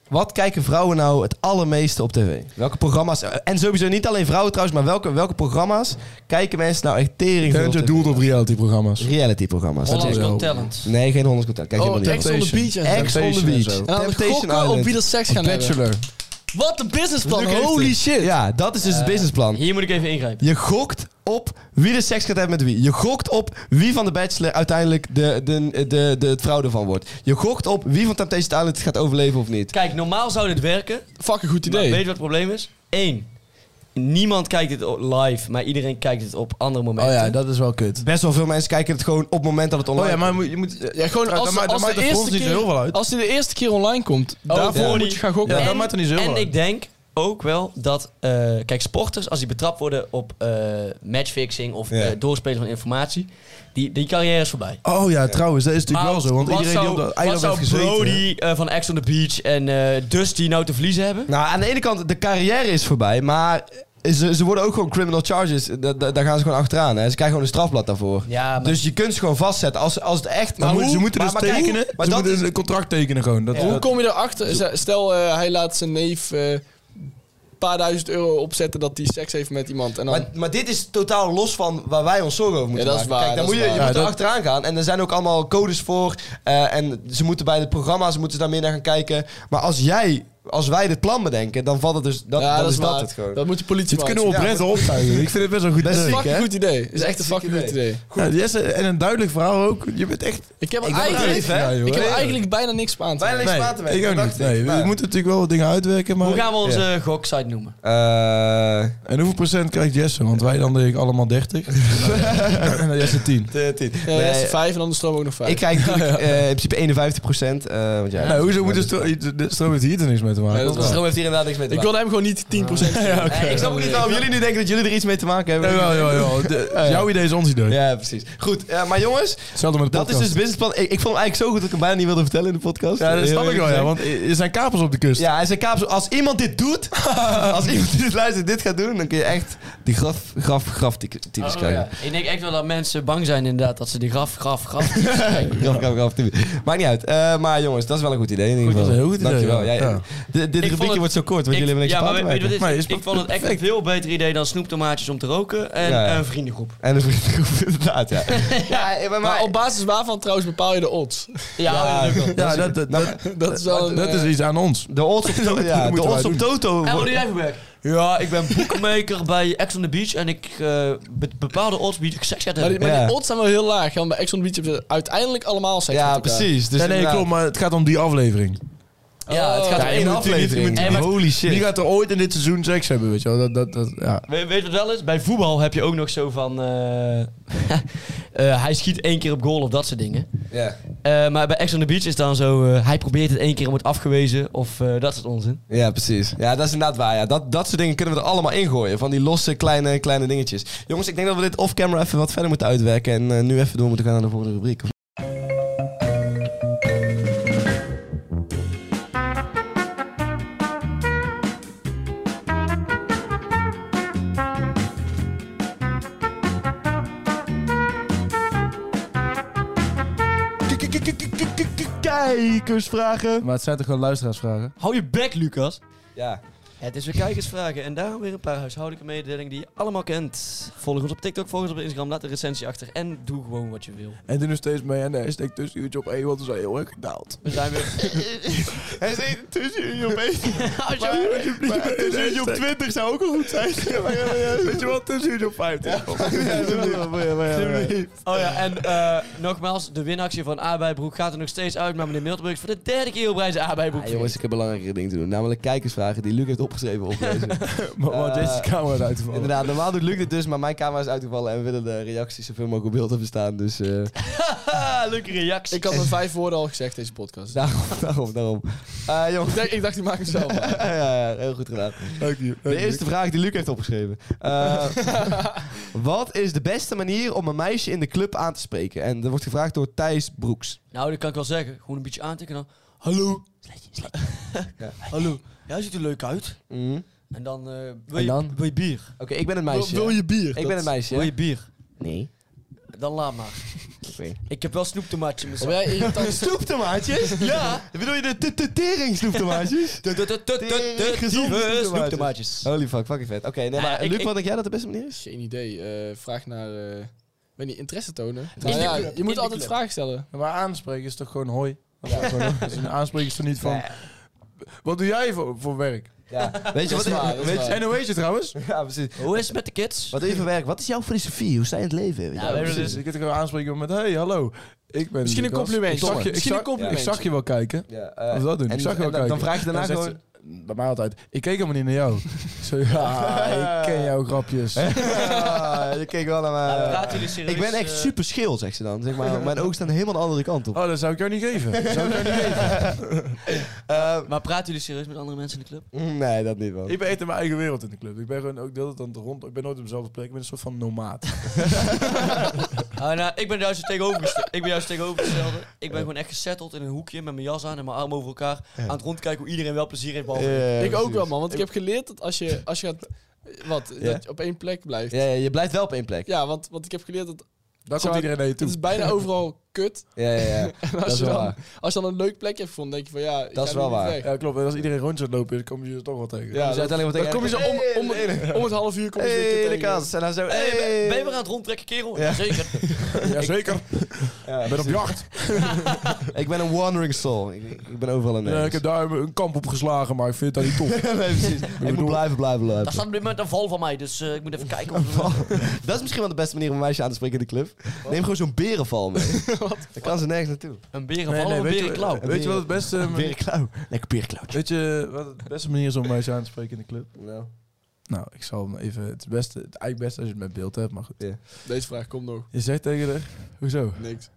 B: wat kijken vrouwen nou het allermeeste op tv? Welke programma's? En sowieso niet alleen vrouwen trouwens, maar welke, welke programma's kijken mensen nou echt tering veel
C: Teuntje
B: op
C: doelt op reality-programma's.
B: reality-programma's. Dat
D: Hollands
B: is-
C: wel.
D: Got Talent.
B: Nee, geen Hollands Contact. Kijk
E: Oh,
B: helemaal
E: Ex
B: niet.
E: on the
C: Temptation.
E: Beach en zo.
B: Ex on the
C: Temptation en zo.
B: Beach.
E: En dan gokken op wie dat seks gaan hebben.
C: Bachelor.
E: Wat een businessplan.
B: Luc heeft
E: Holy
B: het.
E: shit. Eh.
B: Ja, dat is dus het businessplan.
D: Hier moet ik even ingrijpen.
B: Je gokt op wie de seks gaat hebben met wie. Je gokt op wie van de Bachelor uiteindelijk de, de, de, de, het fraude van wordt. Je gokt op wie van Temptation Island het gaat overleven of niet.
D: Kijk, normaal zou dit werken.
E: Fucking goed
D: Maar weet je
E: idee.
D: wat het probleem is? Eén. Niemand kijkt dit o- live, maar iedereen kijkt het op andere
C: Oh
D: momenten.
C: ja, dat is wel kut.
B: Best wel veel mensen kijken het gewoon op het moment dat het online
C: Oh ja, maar
B: komt.
C: je moet- je moet...
E: Ja, gewoon
C: Ja,
E: als,
C: dan ma- dan
E: als,
C: maakt
E: de
C: het voor
E: eerste
C: ons niet
E: keer,
C: zo heel veel uit.
E: als die de eerste keer online komt, Oh, daarvoor
B: ja.
E: moet je gaan gokken.
C: Ja,
D: En-
C: dat maakt er niet zo heel
D: En
C: veel uit.
D: ik denk ook wel dat, eh, kijk, sporters, als die betrapt worden op eh, matchfixing of
B: Ja.
D: eh, doorspelen van informatie, die, die carrière is voorbij.
C: Oh ja, trouwens, dat is natuurlijk wel zo. Want
D: wat
C: iedereen
D: zou,
C: die op dat
D: wat
C: eiland heeft
D: zou
C: gezeten...
D: Brody eh, van Ex on the Beach en eh Dusty nou te verliezen hebben?
B: Nou, aan de ene kant, de carrière is voorbij, maar ze, ze worden ook gewoon criminal charges. Da- da- daar gaan ze gewoon achteraan. Hè. Ze krijgen gewoon een strafblad daarvoor.
D: Ja, maar-
B: Dus je kunt ze gewoon vastzetten als, als het echt...
C: Maar hoe, ze moeten dus
B: kijk,
C: tekenen.
B: maar
C: ze
B: dat
C: moeten dus
B: is-
C: een contract tekenen gewoon. Dat,
E: Hoe
C: dat-
E: kom je erachter? Z- Stel, eh, hij laat zijn neef eh, een paar duizend euro opzetten dat hij seks heeft met iemand. En dan,
B: maar, maar dit is totaal los van waar wij ons zorgen over moeten
E: Ja, dat is
B: maken.
E: waar,
B: Kijk, daar
E: dat
B: moet
E: is
B: je, je
E: waar.
B: moet
C: Ja,
B: er
C: dat-
B: achteraan gaan. En er zijn ook allemaal codes voor. eh, en ze moeten bij de programma's moeten ze daar meer naar gaan kijken. Maar als jij, als wij dit plan bedenken, dan valt het dus... Dat,
E: ja,
B: dan
E: dat is
B: dat
E: waar.
B: het gewoon.
E: Dat moet de politie
C: dit
E: maar
C: kunnen we
E: uitzoeken.
C: oprecht optuigen. Ik vind het best wel een goed.
B: Best
C: idee.
B: ziek,
E: Fucking
B: hè?
E: goed idee. Het is echt een
B: Ziek
E: fucking goed idee.
C: Ja, Jesse, en een duidelijk verhaal ook. Je bent echt...
E: Ik heb er
B: Ik ben
E: eigenlijk,
B: naïef, hè?
C: Ja, joh.
E: ik heb er
C: Nee.
E: eigenlijk bijna niks op aan te
B: Bijna niks
C: Nee,
B: praten mee.
C: ik ook
B: Dat
C: niet.
B: dacht ik.
C: Nee, we
E: Eh,
B: Maar-
C: moeten natuurlijk wel wat dingen uitwerken, maar...
D: Hoe gaan we onze goksite noemen?
B: Eh,
C: En hoeveel procent krijgt Jesse? Want wij dan denk ik allemaal 30. en dan Jesse 10.
E: Ja,
B: Nee, eh,
E: de eerste Eh, vijf en dan de stroom ook nog vijf.
B: ik kijk natuurlijk eh, in principe 51 procent. eh, want ja,
C: Nou, hoezo moet de stro- de stroom heeft hier er niks mee te maken?
E: Nee, dat is waar.
B: stroom heeft hier inderdaad niks mee te
E: Ik
B: maken.
E: wilde hem gewoon niet 10% geven.
B: Eh, ik snap ook niet waarom jullie nu denken dat jullie er iets mee te maken hebben.
C: Jawel, jawel, jawel. De- Jouw idee is ons idee.
B: Ja, precies. Goed, eh, maar jongens,
C: Hetzelfde met de
B: dat is
C: podcast.
B: dus het businessplan. Ik, ik vond hem eigenlijk zo goed dat ik hem bijna niet wilde vertellen in de podcast.
C: Ja, dat
B: Heel
C: snap ik
B: eerlijk
C: wel, ja.
B: gezegd.
C: Want er zijn kapers op de kust.
B: Ja, hij zei Kaap, als iemand dit doet, als iemand dit luistert, dit gaat doen, dan kun je echt die graf, graf, graf ty- types
C: Oh,
B: krijgen.
D: Oh, Ik denk echt wel dat mensen bang zijn inderdaad dat ze die graf, graf, graf krijgen.
B: Graf, graf, graf types. Maakt niet uit. Eh, maar jongens, dat is wel een goed idee in ieder
C: Goed,
B: geval.
C: dat is een heel goed idee,
B: Dankjewel. Ja,
C: ja. Ja.
B: Dit- Dit
D: vond
B: rubriekje
D: het-
B: wordt zo kort, want
D: Ik-
B: jullie hebben niks
D: ja,
B: te
D: maar
B: maken.
D: weet- weet je wat
C: Maar
D: het
C: je
D: is?
C: speelt
D: Ik vond het echt een
C: perfect.
D: veel beter idee dan snoeptomaatjes om te roken en eh,
B: Ja, ja.
D: een vriendengroep.
B: En een vriendengroep, inderdaad, ja. ja, maar,
E: Maar op basis waarvan trouwens bepaal je de odds?
D: Ja, dat lukt wel.
C: Ja, dat, dat, dat,
E: Dat is wel een, eh,
C: dat is iets aan ons.
B: nou, de odds op, to- ja, de
C: moeten wij
B: odds op
C: doen.
B: Toto.
D: En wat
B: wo-
D: doe jij voor werk? Ja, ik ben boekmaker bij Ex on the Beach en ik eh, be- bepaalde odds bied ik seks uit
E: Maar, die, maar die
B: Ja.
E: odds zijn wel heel laag. Want bij Exxon Beach hebben ze uiteindelijk allemaal seks met
B: Ja,
E: elkaar.
B: precies. Dus
C: ja, nee,
B: inderdaad.
C: klopt, maar het gaat om die aflevering.
D: Ja, het gaat
B: Ja,
D: om
B: één
D: één
B: aflevering.
D: aflevering.
B: Hey,
D: En
B: maar-
D: wat-
B: Holy shit.
C: Wie gaat er ooit in dit seizoen seks hebben, weet je wel? Dat, dat, dat, ja.
D: We- Weet je wat wel is? Bij voetbal heb je ook nog zo van... eh, eh, hij schiet één keer op goal of dat soort dingen.
B: Ja.
D: Eh, maar bij Ex on the Beach is dan zo... eh, hij probeert het één keer en wordt afgewezen of eh, dat soort onzin.
B: ja, precies. Ja, dat is inderdaad waar. Ja. Dat, dat soort dingen kunnen we er allemaal ingooien. Van die losse kleine, kleine dingetjes. Jongens, ik denk dat we dit off-camera even wat verder moeten uitwerken. En eh, nu even door moeten gaan naar de volgende rubriek. Kijkersvragen.
C: Maar het zijn toch gewoon luisteraarsvragen?
D: Hou je bek, Lucas.
B: Ja.
D: Het is weer kijkersvragen en daarom weer een paar huishoudelijke mededelingen die je allemaal kent. Volg ons op TikTok, volg ons op Instagram, laat een recensie achter en doe gewoon wat je wil.
C: En doe nog steeds mee aan de hashtag tussenuurtje op 1, want we zijn heel erg gedaald.
D: We zijn weer...
B: Hij zit tussen jullie op één.
D: Als je-
C: Maar tussenuurtje op 20 zou ook al goed zijn. Weet je wat, tussenuurtje op 50.
D: Oh ja, en eh, nogmaals, de winactie van Abijbroek gaat er nog steeds uit, maar meneer Miltenburg is voor de derde keer op reis Abijbroek.
B: Ah, jongens, ik heb belangrijke dingen te doen. Namelijk kijkersvragen die Luc heeft op opgeschreven oplezen.
C: Maar maar
B: Eh,
C: deze camera eruit te vallen.
B: Inderdaad, normaal doet lukt het dus, maar mijn camera is uitgevallen en we willen de reacties zoveel mogelijk op beeld hebben staan. Dus eh,
D: Haha, Ah, leuke reactie.
E: Ik had mijn vijf woorden al gezegd deze podcast.
B: daarom, daarom, daarom. Eh jongens,
E: Ik, denk, ik dacht, die maak ik zelf. aan.
B: ja, ja, ja, heel goed gedaan.
C: Dank je.
B: De eerste vraag die Luc heeft opgeschreven. Eh, wat is de beste manier om een meisje in de club aan te spreken? En dat wordt gevraagd door Thijs Broeks.
D: Nou, dat kan ik wel zeggen. Gewoon een beetje aantikken dan. Hallo. Sletje, sletje.
B: Ja.
D: Hallo. Jij ziet er leuk uit. En dan, eh, wil,
B: En
D: je,
B: dan?
D: wil je bier?
B: Oké, ik ben een meisje.
E: Mhm. Wil je bier?
B: Ik ben een meisje.
D: Wil je bier?
B: Nee.
D: Dan laat maar.
B: Oké.
D: Ik heb wel snoeptomaatje in mijn
E: Of
D: zak.
E: jij irritant?
B: Snoeptomaatjes? ja. Bedoel je de tering snoeptomaatjes?
D: Tut, tut, tut, tut, tut,
B: Tering gezonde
D: Snoeptomaatjes.
B: snoeptomaatjes. Holy fuck, fucking vet. Oké, nee,
D: Nou ja,
B: maar
D: ik-
B: Luc,
D: ik-
B: wat denk jij dat de beste manier is?
E: Geen idee. Eh, vraag naar... eh, weet niet, interesse tonen.
D: In
E: Nou
D: de
E: ja,
D: club.
E: je
D: In
E: moet
D: de
E: altijd
D: club.
E: vragen stellen.
C: Maar aanspreken is toch gewoon hoi? Gewoon, dus een aanspreken is toch niet van... Wat doe jij voor, voor werk?
B: Ja. Weet je wat?
E: waar, dat is
B: weet je-
E: waar.
C: En hoe heet je trouwens?
B: Ja, precies.
D: Hoe is het met de kids?
B: Wat doe je voor werk? Wat is jouw filosofie? Hoe sta je in het leven? Weet je wel.
D: Ja, we hebben
C: Nou, Precies, Dus ik kan gewoon aanspreken met... Hey, hallo. Ik ben
E: Misschien een
C: Lucas.
E: compliment.
C: Ik zag je, ik
E: Misschien
C: zag-
E: een compliment.
C: Ik zag je wel kijken.
B: Ja, eh,
C: Of dat doen.
B: en-
C: ik zag je wel
B: en dan-
C: kijken.
B: dan vraag je daarna
C: En dan zegt ze- bij mij altijd. Ik keek helemaal niet naar jou. Zo, ja, ik ken jouw grapjes.
B: Ah, je keek wel naar mij.
D: Ja, praten jullie serieus?
B: ik ben echt
D: eh,
B: super schil, zegt ze dan. Zeg maar, mijn ogen staan helemaal de andere kant op.
C: Oh, dat zou ik jou niet geven. Dat Zou ik jou niet geven.
B: Eh, mm,
D: Maar praten jullie serieus met andere mensen in de club?
B: nee, dat niet wel.
C: Ik ben echt in mijn eigen wereld in de club. Ik ben gewoon ook de hele tijd aan het rond. Ik ben nooit op dezelfde plek. Ik ben een soort van nomaat.
D: Ah, nou, ik ben juist het tegenovergestelde. ik ben juist het tegenovergestelde. Ik ben gewoon echt gesetteld in een hoekje met mijn jas aan en mijn armen over elkaar. Aan het rondkijken hoe iedereen wel plezier heeft. behalve ik.
B: Ja,
E: ik ook
B: precies.
E: wel, man. Want ik heb geleerd dat als je, als je gaat... eh, Wat?
B: Ja?
E: Dat je op één plek blijft.
B: Ja,
E: Ja,
B: ja, je blijft wel op één plek.
E: want, want ik heb geleerd dat...
C: Dan
E: Zou-
C: komt iedereen naar je
E: Het is
C: toe.
E: bijna overal kut.
B: Ja, ja, Dus ja.
E: En
B: Dat
E: als,
B: is
E: je
B: wel
E: dan,
B: waar.
E: als je dan een leuk plekje hebt gevonden, denk je van ja... ik
B: Dat
E: ga
B: is
E: nu
B: wel
E: niet
B: waar.
E: weg.
C: Ja, klopt. En als iedereen rond je gaat lopen, dan kom je er toch wel tegen.
B: Dus uiteindelijk wordt
E: dan kom je zo om, om, om het half uur kom je weer een keer
B: Hey, de
E: tegen.
B: kans. En dan zo.
D: Hey,
B: hey.
D: ben, ben je weer aan het rondtrekken, kerel?
B: Ja.
D: Zeker.
C: Jazeker.
B: Ja,
C: Ik ben op jacht.
B: Ik ben een wandering soul. Ik, ik ben overal een.
C: Eh, ik heb daar een kamp op geslagen, maar ik vind dat niet tof.
B: nee, precies. Ik moet
C: bedoel-
B: blijven, blijven,
D: Daar
B: blijven.
D: staat op dit moment een val van mij, dus eh, ik moet even kijken. Of
B: Dat is misschien wel de beste manier om een meisje aan te spreken in de club. Neem gewoon zo'n berenval mee. Dan kan ze nergens naartoe.
D: een berenval of een
C: weet,
D: berenklauw?
C: je, eh, weet je wat het beste... um,
B: Berenklauw. Lekker berenklauwtje.
C: Weet je wat het beste manier is om meisje aan te spreken in de club?
B: Nou.
C: Nou, ik zal hem even... Het is beste, het eigenlijk best als je het met beeld hebt, maar goed.
E: Deze vraag komt nog.
C: Je zegt tegen haar... Hoezo?
E: Niks.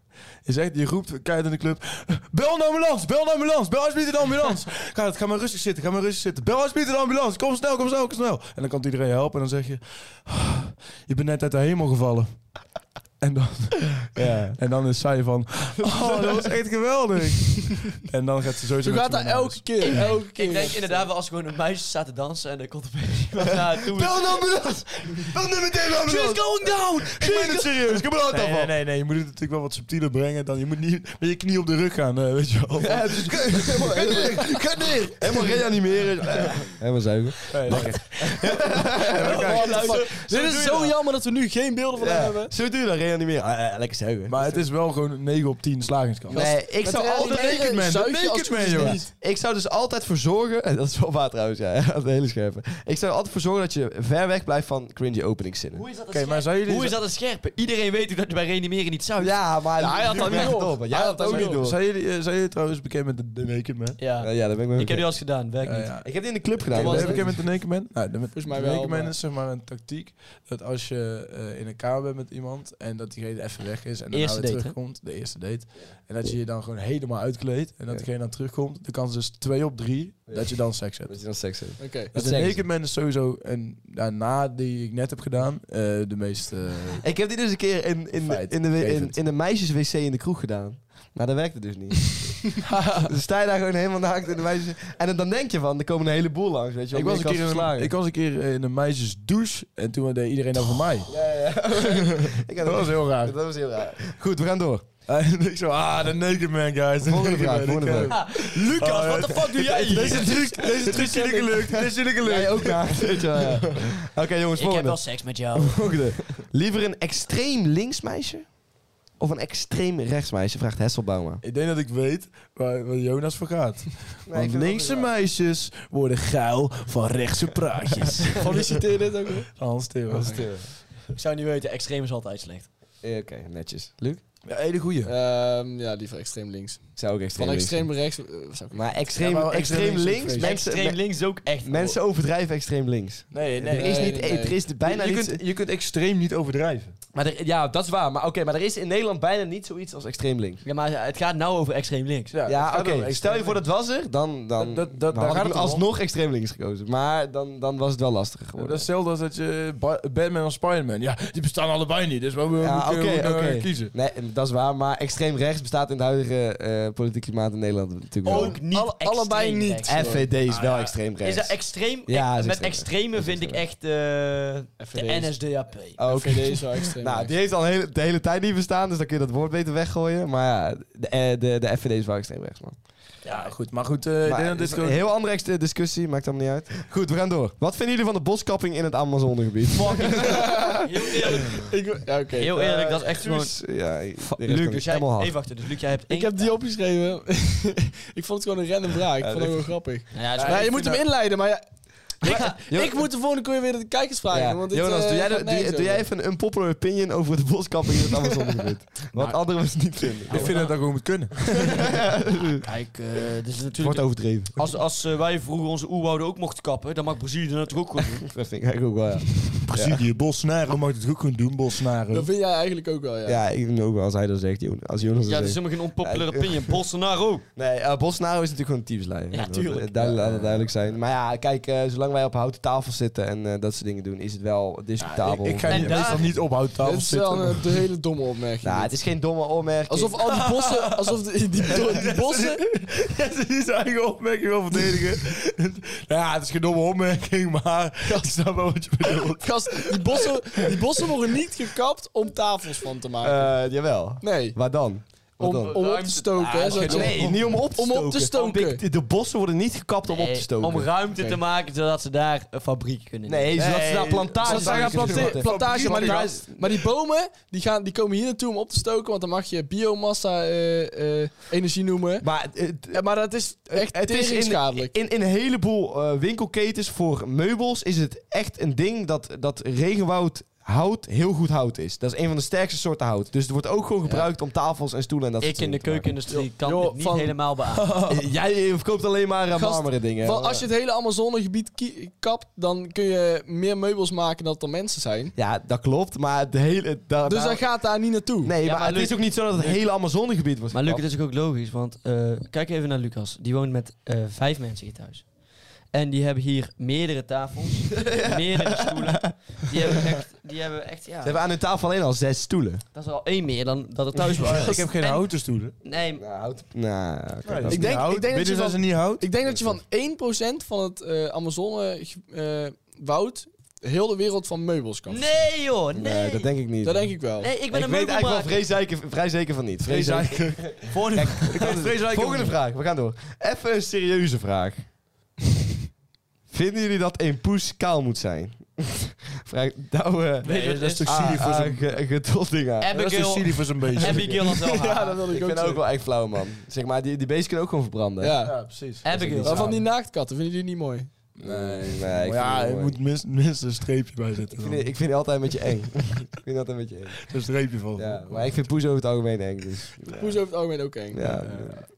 C: Je zegt, je roept keihard in de club... Bel een ambulance! Bel een ambulance! Bel alsjeblieft een ambulance! Ga, het, ga maar rustig zitten, ga maar rustig zitten. Bel alsjeblieft een ambulance! Kom snel, kom snel, kom snel! En dan kan het iedereen helpen en dan zeg je... "Ah, Je bent net uit de hemel gevallen. En dan,
B: Ja.
C: en dan is zij van... Oh, dat was echt geweldig! En dan gaat ze sowieso...
E: Zo
C: met
E: gaat
C: z'n
E: dat
C: allen naar
E: elke keer. Elke keer.
D: Ik denk inderdaad wel als gewoon een meisje staat te dansen en er komt een beetje wat naar toe.
B: Bel een ambulance! Bel nu meteen een ambulance!
D: going down!
B: Ik ben het serieus, ik heb een
C: huis. Nee, nee, nee, nee, je moet het natuurlijk wel wat subtieler brengen dan... Je moet niet met je knie op de rug gaan, eh, weet je wel.
B: Ja, dus helemaal, helemaal, helemaal reanimeren. Helemaal zuigen.
C: Nee, nee.
E: Dit is nou, zo jammer dat we nu geen beelden van hem hebben.
B: Zo doe je dat, reanimeren. Ah, eh, lekker zuigen.
C: Maar het is wel gewoon een 9 op 10 slagingskans.
B: nee, ik zou,
E: eh,
B: altijd,
E: naked man, de naked man, jongen.
B: ik zou dus altijd voor zorgen... en Dat is wel waar trouwens, ja. Dat is hele scherpe. Ik zou er altijd voor zorgen dat je ver weg blijft van cringy openingszinnen.
D: Hoe is dat een
C: Oké,
D: scherpe?
C: maar zou jullie...
D: Hoe is dat een scherpe? Iedereen weet dat je bij reanimeren niet zou.
B: Ja, maar...
E: Ja, hij had
B: nu
E: dat
B: ben
E: niet
B: ik
E: door.
B: het Jij
E: Hij
B: had
E: had
B: dat
E: dat
B: ook
E: niet
B: niet
E: door.
B: door.
C: Zijn jullie, eh, zijn jullie trouwens bekend met de, de Naked Man?
D: Ja.
B: Eh, Ja, dat ben ik wel
D: Ik
B: bekend.
D: heb nu al eens gedaan, werkt
C: Eh,
D: niet.
C: ja.
B: Ik heb die in de club gedaan.
C: Ben
D: was
C: je
D: het?
C: bekend met de Naked Man? Nou, de, Volgens
E: mij
C: de
E: wel,
C: Naked Man
E: maar-
C: is zeg maar een tactiek dat als je eh, in een kamer bent met iemand en dat diegene even weg is en daarna
D: Eerste
C: weer
D: date, hè?
C: terugkomt, de eerste date, en dat je je dan gewoon helemaal uitkleedt en dat diegene dan terugkomt, de kans is 2 op 3 dat je dan seks hebt.
B: Dat je dan seks hebt.
E: Oké.
C: Dus de
B: zeggen
C: Naked Man is sowieso, en daarna die ik net heb gedaan, eh, de meest... eh,
B: Ik heb die dus een keer in, in, de-
C: Feit.
B: in, de, in,
C: Gevend.
B: in een meisjeswc in de kroeg gedaan. Maar dat werkte dus niet. dan sta je daar gewoon helemaal naakt in de meisjes... En dan denk je van, er komen een heleboel langs, weet je wel.
C: ik, was
B: meer
C: een keer in
B: kans
C: een, ik was een keer eh, in een meisjesdouche en toen deed iedereen dat voor mij.
B: verslagen. Ik had-
C: Dat was heel raar.
B: dat was heel raar. Goed, we gaan door.
C: En ik zo, ah, de naked man, guys. de
B: Volgende
C: naked
B: vraag, Ah,
C: man, ik
B: volgende
C: ken hem.
D: Lucas,
C: Oh,
D: what the fuck doe jij hier?
C: Deze truc, deze truc is niet gelukt. Dit is niet gelukt.
B: Jij ook naakt, weet je wel, ja. Oké jongens,
D: Ik heb
B: volgende.
D: wel seks met jou.
B: volgende. Liever een extreem links meisje? Of een extreem rechts meisje? Vraagt Hesselbauma.
C: Ik denk dat ik weet waar, waar Jonas voor gaat. Want linkse
B: meisje.
C: meisjes worden geil van rechtse praatjes.
E: Van wie citeer je dit ook weer?
C: Hans Theo.
D: Ik zou niet weten, extreem is altijd slecht.
B: Oké, Eh, netjes. Luc?
C: Ja, hele goeie. Ja,
E: Ehm, ja, liever extreem links.
B: Zou ook extreem
E: Van
B: links
E: extreem
B: zijn.
E: rechts eh, zou ik
B: Maar extreem,
C: maar
B: extreem, links...
C: ook
B: Mensen,
D: Extreem links ook echt.
B: me- mensen overdrijven extreem links.
C: Nee,
B: er is,
E: nee,
B: niet,
C: e-
E: nee.
B: Er is bijna
C: je,
B: niet...
C: kunt, je kunt extreem niet overdrijven.
B: Maar er- ja, dat is waar. Maar, oké, maar er is in Nederland bijna niet zoiets als extreem links.
D: Ja, maar het gaat nou over extreem links.
B: Ja,
C: dat gaat
B: oké.
C: wel.
B: Stel je voor dat was er, dan, dan,
C: Dat- dat- dat-
B: dan
C: daar
B: had
C: gaat
B: ik
C: het om.
B: alsnog extreem links gekozen. Maar dan, dan was het wel lastiger
C: Dat
B: geworden.
C: is hetzelfde als dat je Ba- Batman of Spider-Man. Ja, die bestaan allebei niet. Dus we we
B: ja,
C: moeten
B: oké,
C: we moeten,
B: oké.
C: eh, kiezen.
B: Nee, en dat is waar. Maar extreem rechts bestaat in het huidige eh politieke klimaat in Nederland natuurlijk wel.
D: Ook niet
E: Alle- allebei
D: extreem
E: niet.
D: rechts.
B: FVD is wel extreem
D: Ah, Is
B: rechts.
D: dat extreem?
B: Ja,
D: Ik-
B: is
D: met
B: extreem.
D: extreme vind ik echt eh, de
E: FVD is-
D: NSDAP.
B: Oh, oké.
E: VVD is wel extreem
B: Nou,
E: rechts.
B: die heeft al heel- de hele tijd niet bestaan, dus dan kun je dat woord beter weggooien. Maar ja, de, eh, de, de FVD is wel extreem rechts, man.
C: Ja, goed. Maar goed, eh, ik
B: Maar
C: denk dat
B: het
C: dit
B: is een
C: gewoon...
B: heel andere ex- discussie, maakt allemaal niet uit. Goed, we gaan door. Wat vinden jullie van de boskapping in het Amazonegebied?
D: Heel eerlijk.
E: Ik, ja, oké.
D: Heel eerlijk, dat is echt gewoon...
B: Dus, ja, ik- de rest
D: Luc,
B: kan
D: dus
B: ik
D: jij,
B: helemaal hard.
D: even wachten. Dus Luc, jij hebt één...
E: Ik
B: eh,
E: heb die opgeschreven. ik vond het gewoon een random vraag. Ik vond het wel grappig.
D: Nou ja, het is-
E: Maar je moet hem inleiden, maar ja,
D: Ik ga-
B: Jo-
E: ik moet de volgende keer weer de kijkers vragen.
B: Ja.
E: Want dit,
B: Jonas,
E: eh,
B: doe jij,
E: gaat
B: de- doe,
E: nergens
B: doe jij
E: over.
B: even een unpopular opinion over de boskapping in het Amazonegebied? Wat anderen mensen niet vinden.
C: Ik vind dat dat gewoon moet kunnen.
D: Kijk, eh, dit is
B: Wordt
D: natuurlijk...
B: overdreven.
D: Als, als eh, wij vroeger onze oerwouden ook mochten kappen, dan mag Brazilië dat natuurlijk ook gewoon doen.
B: Dat vind ik eigenlijk ook wel, ja.
C: Precies, die bosnaren mag het ook kunnen doen,
E: Dat
C: bosnaren.
E: vind jij eigenlijk ook wel, ja.
B: Ja, ik vind ook wel als hij dat zegt. Jon- Als Jonas dat
D: Ja, dat is
B: zegt.
D: helemaal geen
B: Ja,
D: unpopular
B: ik-
D: opinion. Bolsonaro.
B: Nee, eh, Bolsonaro is natuurlijk gewoon een tyfusleier.
D: Ja,
B: Dat-
D: tuurlijk.
B: Duidelijk, laat dat duidelijk zijn. Maar ja, kijk, eh, zolang wij op houten tafels zitten en eh, dat soort dingen doen, is het wel discutabel.
C: Ik ga
D: En
C: hier
D: daar-
C: meestal niet op
E: Dit
C: houttafel
E: is wel
C: zitten.
E: een de hele domme opmerking.
B: Nou, het is geen domme opmerking.
E: Alsof al die bossen... Alsof die, die, die, bossen...
C: Ja, ze is zijn eigen opmerking wil verdedigen. nou ja, het is geen domme opmerking, maar ik snap wel wat je bedoelt.
E: Gast, die bossen, die bossen worden niet gekapt om tafels van te maken.
B: Eh, jawel.
E: nee,
B: Waar dan? Wat
E: om,
B: dan?
E: om op te stoken. hè, zodat je-
B: nee, niet om op te
E: om
B: stoken.
E: op te stoken.
B: De bossen worden niet gekapt om op te stoken.
D: Om ruimte te maken, zodat ze daar een fabriek kunnen
B: Nee,
D: nemen.
B: zodat ze daar plantages
E: Zodat ze daar gaan
B: kunnen
E: plante-
B: zetten.
E: plantage, maar die,
B: Plantages.
E: maar die bomen die, gaan, die komen hier naartoe om op te stoken, want dan mag je biomassa eh, eh, energie noemen.
B: Maar het,
E: Ja, maar dat is echt
B: het is in,
E: schadelijk.
B: in, in een heleboel eh, winkelketens voor meubels is het echt een ding dat, dat regenwoud hout heel goed hout is. Dat is een van de sterkste soorten hout. Dus het wordt ook gewoon gebruikt om tafels en stoelen en dat
D: Ik in de keukenindustrie kan
E: Joh,
D: dit niet
E: van-
D: helemaal beamen.
B: keuken. Jij verkoopt alleen maar eh,
E: Gast,
B: marmeren dingen.
E: Van, als je het hele Amazonegebied ki- kapt, dan kun je meer meubels maken dan dat er mensen zijn.
B: Ja, dat klopt, maar het hele... da-
E: Dus
B: daar-
E: hij gaat daar niet naartoe.
B: Nee,
D: Ja,
B: maar,
D: maar
B: het
D: Luc-
B: is ook niet zo dat het hele Amazonegebied wordt
D: Maar Luc, het
B: gekapt.
D: is ook logisch, want eh, kijk even naar Lucas. Die woont met eh, vijf mensen hier thuis. En die hebben hier meerdere tafels, meerdere stoelen. Die hebben echt, die hebben echt ja,
B: Ze hebben aan hun tafel alleen al zes stoelen.
D: dat is al één meer dan dat er thuis was.
C: Ik heb geen
D: En-
C: houten stoelen.
D: Nee,
B: Nou, hout... Nou, oké, dat is-
E: ik denk- ik denk dat je
C: dat
E: van-
C: ze niet hout.
E: Ik denk dat je van 1% van het eh Amazonewoud heel de wereld van meubels kan.
D: nee joh, nee.
B: Nee, dat denk ik niet.
E: Dat denk ik wel.
D: Nee, ik ben
B: ik
D: een
B: weet eigenlijk wel
D: meubelmaker.
B: vrij zeker, vrij zeker van niet. Vrij zeker.
D: Volgende
B: Volgende vraag, we gaan door. Even een serieuze vraag. Vinden jullie dat een poes kaal moet zijn? vraag nou, eh, Douwe
D: Weet je wat het is?
C: toch
B: A-
C: silly voor
B: A-
C: zo'n-
B: Ah, Ge- Gedolding aan.
C: Dat is
D: Abigail,
C: toch silly voor zo'n beetje.
D: Abigail Landelhaar.
E: Ja, dat wilde ik,
B: Ik
E: ook
B: vind
E: zeggen.
B: ook wel echt flauw, man. Zeg maar, die, die beesten kunnen ook gewoon verbranden.
E: Ja.
C: precies.
D: Abigail.
E: Maar van die naaktkatten, vinden jullie niet mooi?
B: Nee, nee. Ik
C: ja,
B: vind
C: er
B: het
C: moet
B: mooi.
C: minst- minstens een streepje bij zitten.
B: Ik vind, die- ik vind die altijd een beetje eng. ik vind die altijd een beetje eng.
C: Een streepje van.
B: Ja, maar ik vind poes over het algemeen eng. Dus, ja.
E: Poes over het algemeen ook eng.
B: Ja.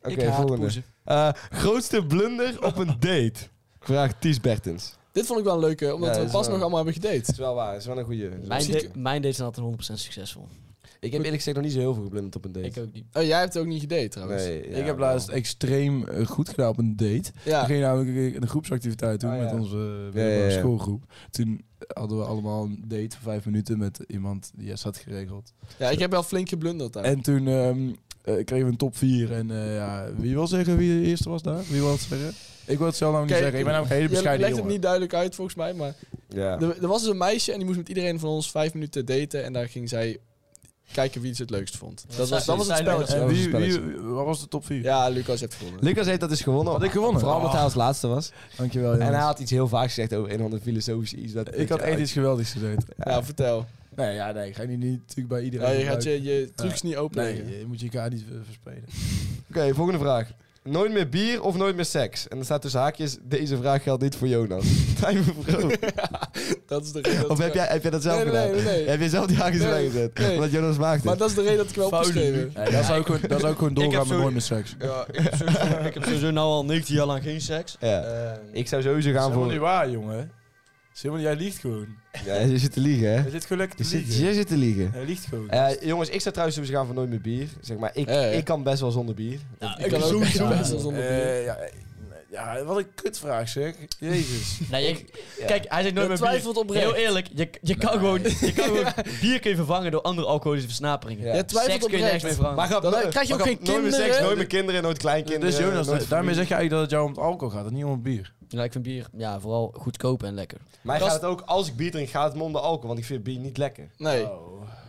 B: Oké,
D: ik haat
B: volgende.
D: poezen.
B: Eh, grootste blunder op een date? Vraagt Ties Bertens. Dat
E: Dit vond ik wel een leuke,
B: Ja,
E: omdat
B: dat
E: we
B: is
E: pas
B: wel-
E: nog allemaal hebben gedate.
B: is wel waar, dat is wel een goede.
D: Mijn,
E: Zieke.
D: de- mijn dates zijn altijd 100% succesvol.
B: Ik heb eerlijk gezegd nog niet zo heel veel geblunderd op een date.
D: Ik ook niet.
E: Oh, jij hebt het ook niet gedate trouwens.
B: Nee, ja,
C: ik
B: wel.
C: heb laatst extreem eh, goed gedaan op een date.
E: Ja.
C: We gingen namelijk een groepsactiviteit doen
B: Ah, ja.
C: met onze eh,
B: Ja, ja, ja.
C: schoolgroep. Toen hadden we allemaal een date van vijf minuten met iemand die had zat geregeld.
E: ja, ik heb wel flink geblunderd daar.
C: En toen ehm, eh, kregen we een top 4. En eh, ja, wie wil zeggen wie de eerste was daar? Wie wil het zeggen? Ik wil het zo lang niet
E: Kijk,
C: zeggen. Ik ben namelijk een hele
E: Je
C: bescheiden
E: legt het
C: jongen.
E: niet duidelijk uit volgens mij, maar
B: Ja.
E: er, er was dus een meisje en die moest met iedereen van ons vijf minuten daten. En daar ging zij kijken wie ze het leukst vond. Dat was, dat was het spelletje.
C: En
B: Dat was
C: wie,
B: een
C: wie,
B: spelletje.
C: wat was de top 4?
E: Ja, Lucas heeft gewonnen.
B: Lucas heeft dat dus gewonnen.
C: Had ik gewonnen?
B: Vooral omdat hij als laatste was.
C: Dankjewel.
B: En hij
C: jongens.
B: had iets heel vaak gezegd over een of ander filosofische iets. Dat,
C: Ik had echt iets geweldigs gedaan.
E: Ja, vertel.
C: Nee, ja, nee. Ik ga niet, niet natuurlijk bij iedereen.
E: Ja, je gaat je,
C: gebruiken.
E: je trucs niet openleggen.
C: Nee, je moet je elkaar niet eh, verspelen.
B: Oké, volgende vraag. Nooit meer bier of nooit meer seks? En er staat tussen haakjes, deze vraag geldt niet voor Jonas. Tijn Vervroot.
E: Dat is de reden. dat
B: Of
E: ik
B: heb
E: wel-
B: jij, heb jij dat zelf
E: Nee, nee,
B: gedaan?
E: nee, nee.
B: Heb je zelf die haakjes
E: Nee,
B: erbij gezet?
E: nee.
B: Omdat Jonas maakte.
E: Maar dat is de reden dat ik wel heb opgeschreven.
C: Nee, dat, zou ook, gewoon- dat zou ook gewoon doorgaan met
D: zo-
C: nooit meer seks.
D: Ja, ik heb sowieso- ik heb sowieso nou al 19 jaar lang geen seks.
B: Ja.
D: Eh,
B: Ik zou sowieso
C: Dat is
B: gaan
C: helemaal
B: voor...
C: niet waar, jongen. Dat is helemaal- jij liegt gewoon.
B: Ja, je zit te liegen, hè?
C: Hij zit gewoon lekker
B: Je
C: te
B: zit,
C: liegen.
B: je zit te liegen.
C: Hij liegt gewoon.
B: Eh, jongens, ik zou trouwens sowieso gaan voor nooit meer bier. Zeg maar, ik,
E: Ja, ja.
B: ik kan best wel zonder bier.
E: Ik kan ook best wel zonder bier.
C: Eh, ja, eh, ja, wat een kutvraag zeg. Jezus.
D: nee, ik- Kijk, hij zegt nooit
E: Je
D: meer
E: twijfelt
D: bier.
E: oprecht.
D: Heel eerlijk, je, je, kan gewoon, je kan gewoon bier kun je vervangen door andere alcoholische versnaperingen.
B: Ja.
E: Jij twijfelt
D: Seks kun je nergens mee
E: oprecht.
D: vervangen.
B: grap,
E: Dan krijg je ook geen
B: Nooit meer seks,
E: kinderen.
B: nooit meer kinderen, nooit kleinkinderen.
C: Dus Jonas,
B: nooit
C: daarmee
B: familie.
C: zeg je eigenlijk dat het jou om het alcohol gaat en niet om het bier.
D: Ja, ik vind bier ja, vooral goedkoop en lekker.
B: Mij gaat
E: Gast-
B: het ook, als ik bier drink, gaat het me om de alcohol. Want ik vind bier niet lekker.
E: Nee.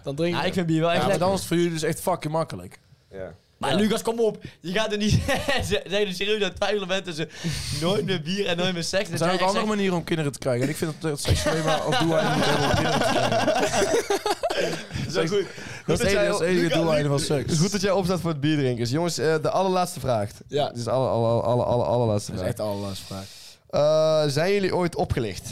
E: Dan drink
D: Oh. Ja,
E: ik.
D: ik vind bier wel echt
C: Ja, maar
D: lekker.
C: dan is het voor jullie dus echt fucking makkelijk.
B: Ja.
D: Maar Lucas, kom op. Je gaat er niet... Ze zijn er serieus aan het twijfelen bent tussen nooit meer bier en nooit meer seks.
C: Er
D: Dat
C: zijn
D: jij echt
C: ook andere
D: zegt-
C: manieren om kinderen te krijgen. En ik vind dat, dat seks alleen maar op doeleinden moet hebben om kinderen te krijgen.
B: Zo goed.
C: Dat is het enige- dat is het enige doeleinde van seks.
B: Goed dat jij opstaat voor Dus het bierdrinkers. Jongens, eh, de allerlaatste vraag.
E: Ja.
B: Dit is de alle, alle, alle, alle, allerlaatste
C: Dat is
B: vraag.
C: echt alle spraak.
B: Eh, zijn jullie ooit opgelicht?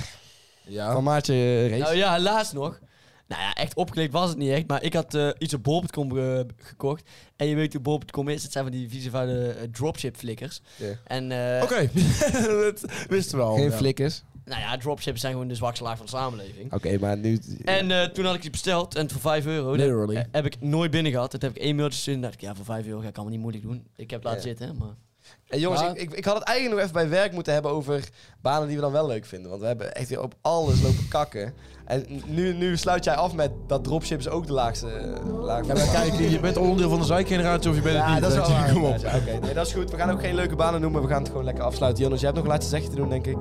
C: Ja.
B: Van Maartje eh, Rees?
D: Nou ja, helaas nog. Nou ja, echt opgekleed was het niet echt. Maar ik had eh, iets op bol.com eh, gekocht. En je weet hoe bol.com is. Het zijn van die vieze vuile eh, dropship flikkers.
B: Ja.
D: En eh,
C: Oké, dat wisten we al.
B: Geen
C: ja.
B: flikkers.
D: nou ja, dropships zijn gewoon de zwakste laag van de samenleving.
B: Oké, maar nu...
D: En eh, toen had ik iets besteld. En voor 5 euro dat,
C: Literally.
D: eh, heb ik nooit binnen gehad. Dat heb ik één mailtje zin. dacht ik, ja, voor 5 euro ga ik allemaal niet moeilijk doen. Ik heb het laten
B: Ja.
D: zitten, maar...
B: En eh, jongens,
E: Maar-
B: ik, ik, ik had het eigenlijk nog even bij werk moeten hebben over banen die we dan wel leuk vinden. Want we hebben echt weer op alles lopen kakken. En nu, nu sluit jij af met dat dropships ook de laagste eh, laag
C: Ja, maar kijk, je bent onderdeel van de zijgeneratie of je bent het
B: Ja,
C: niet.
B: dat is
C: weet
B: wel
C: je.
B: waar.
C: Kom op.
B: Ja, Oké, nee, dat is goed. We gaan ook geen leuke banen noemen. We gaan het gewoon lekker afsluiten. Jonas, jij hebt nog een laatste zegje te doen, denk ik.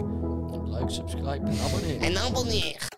D: Like, subscribe en abonneer.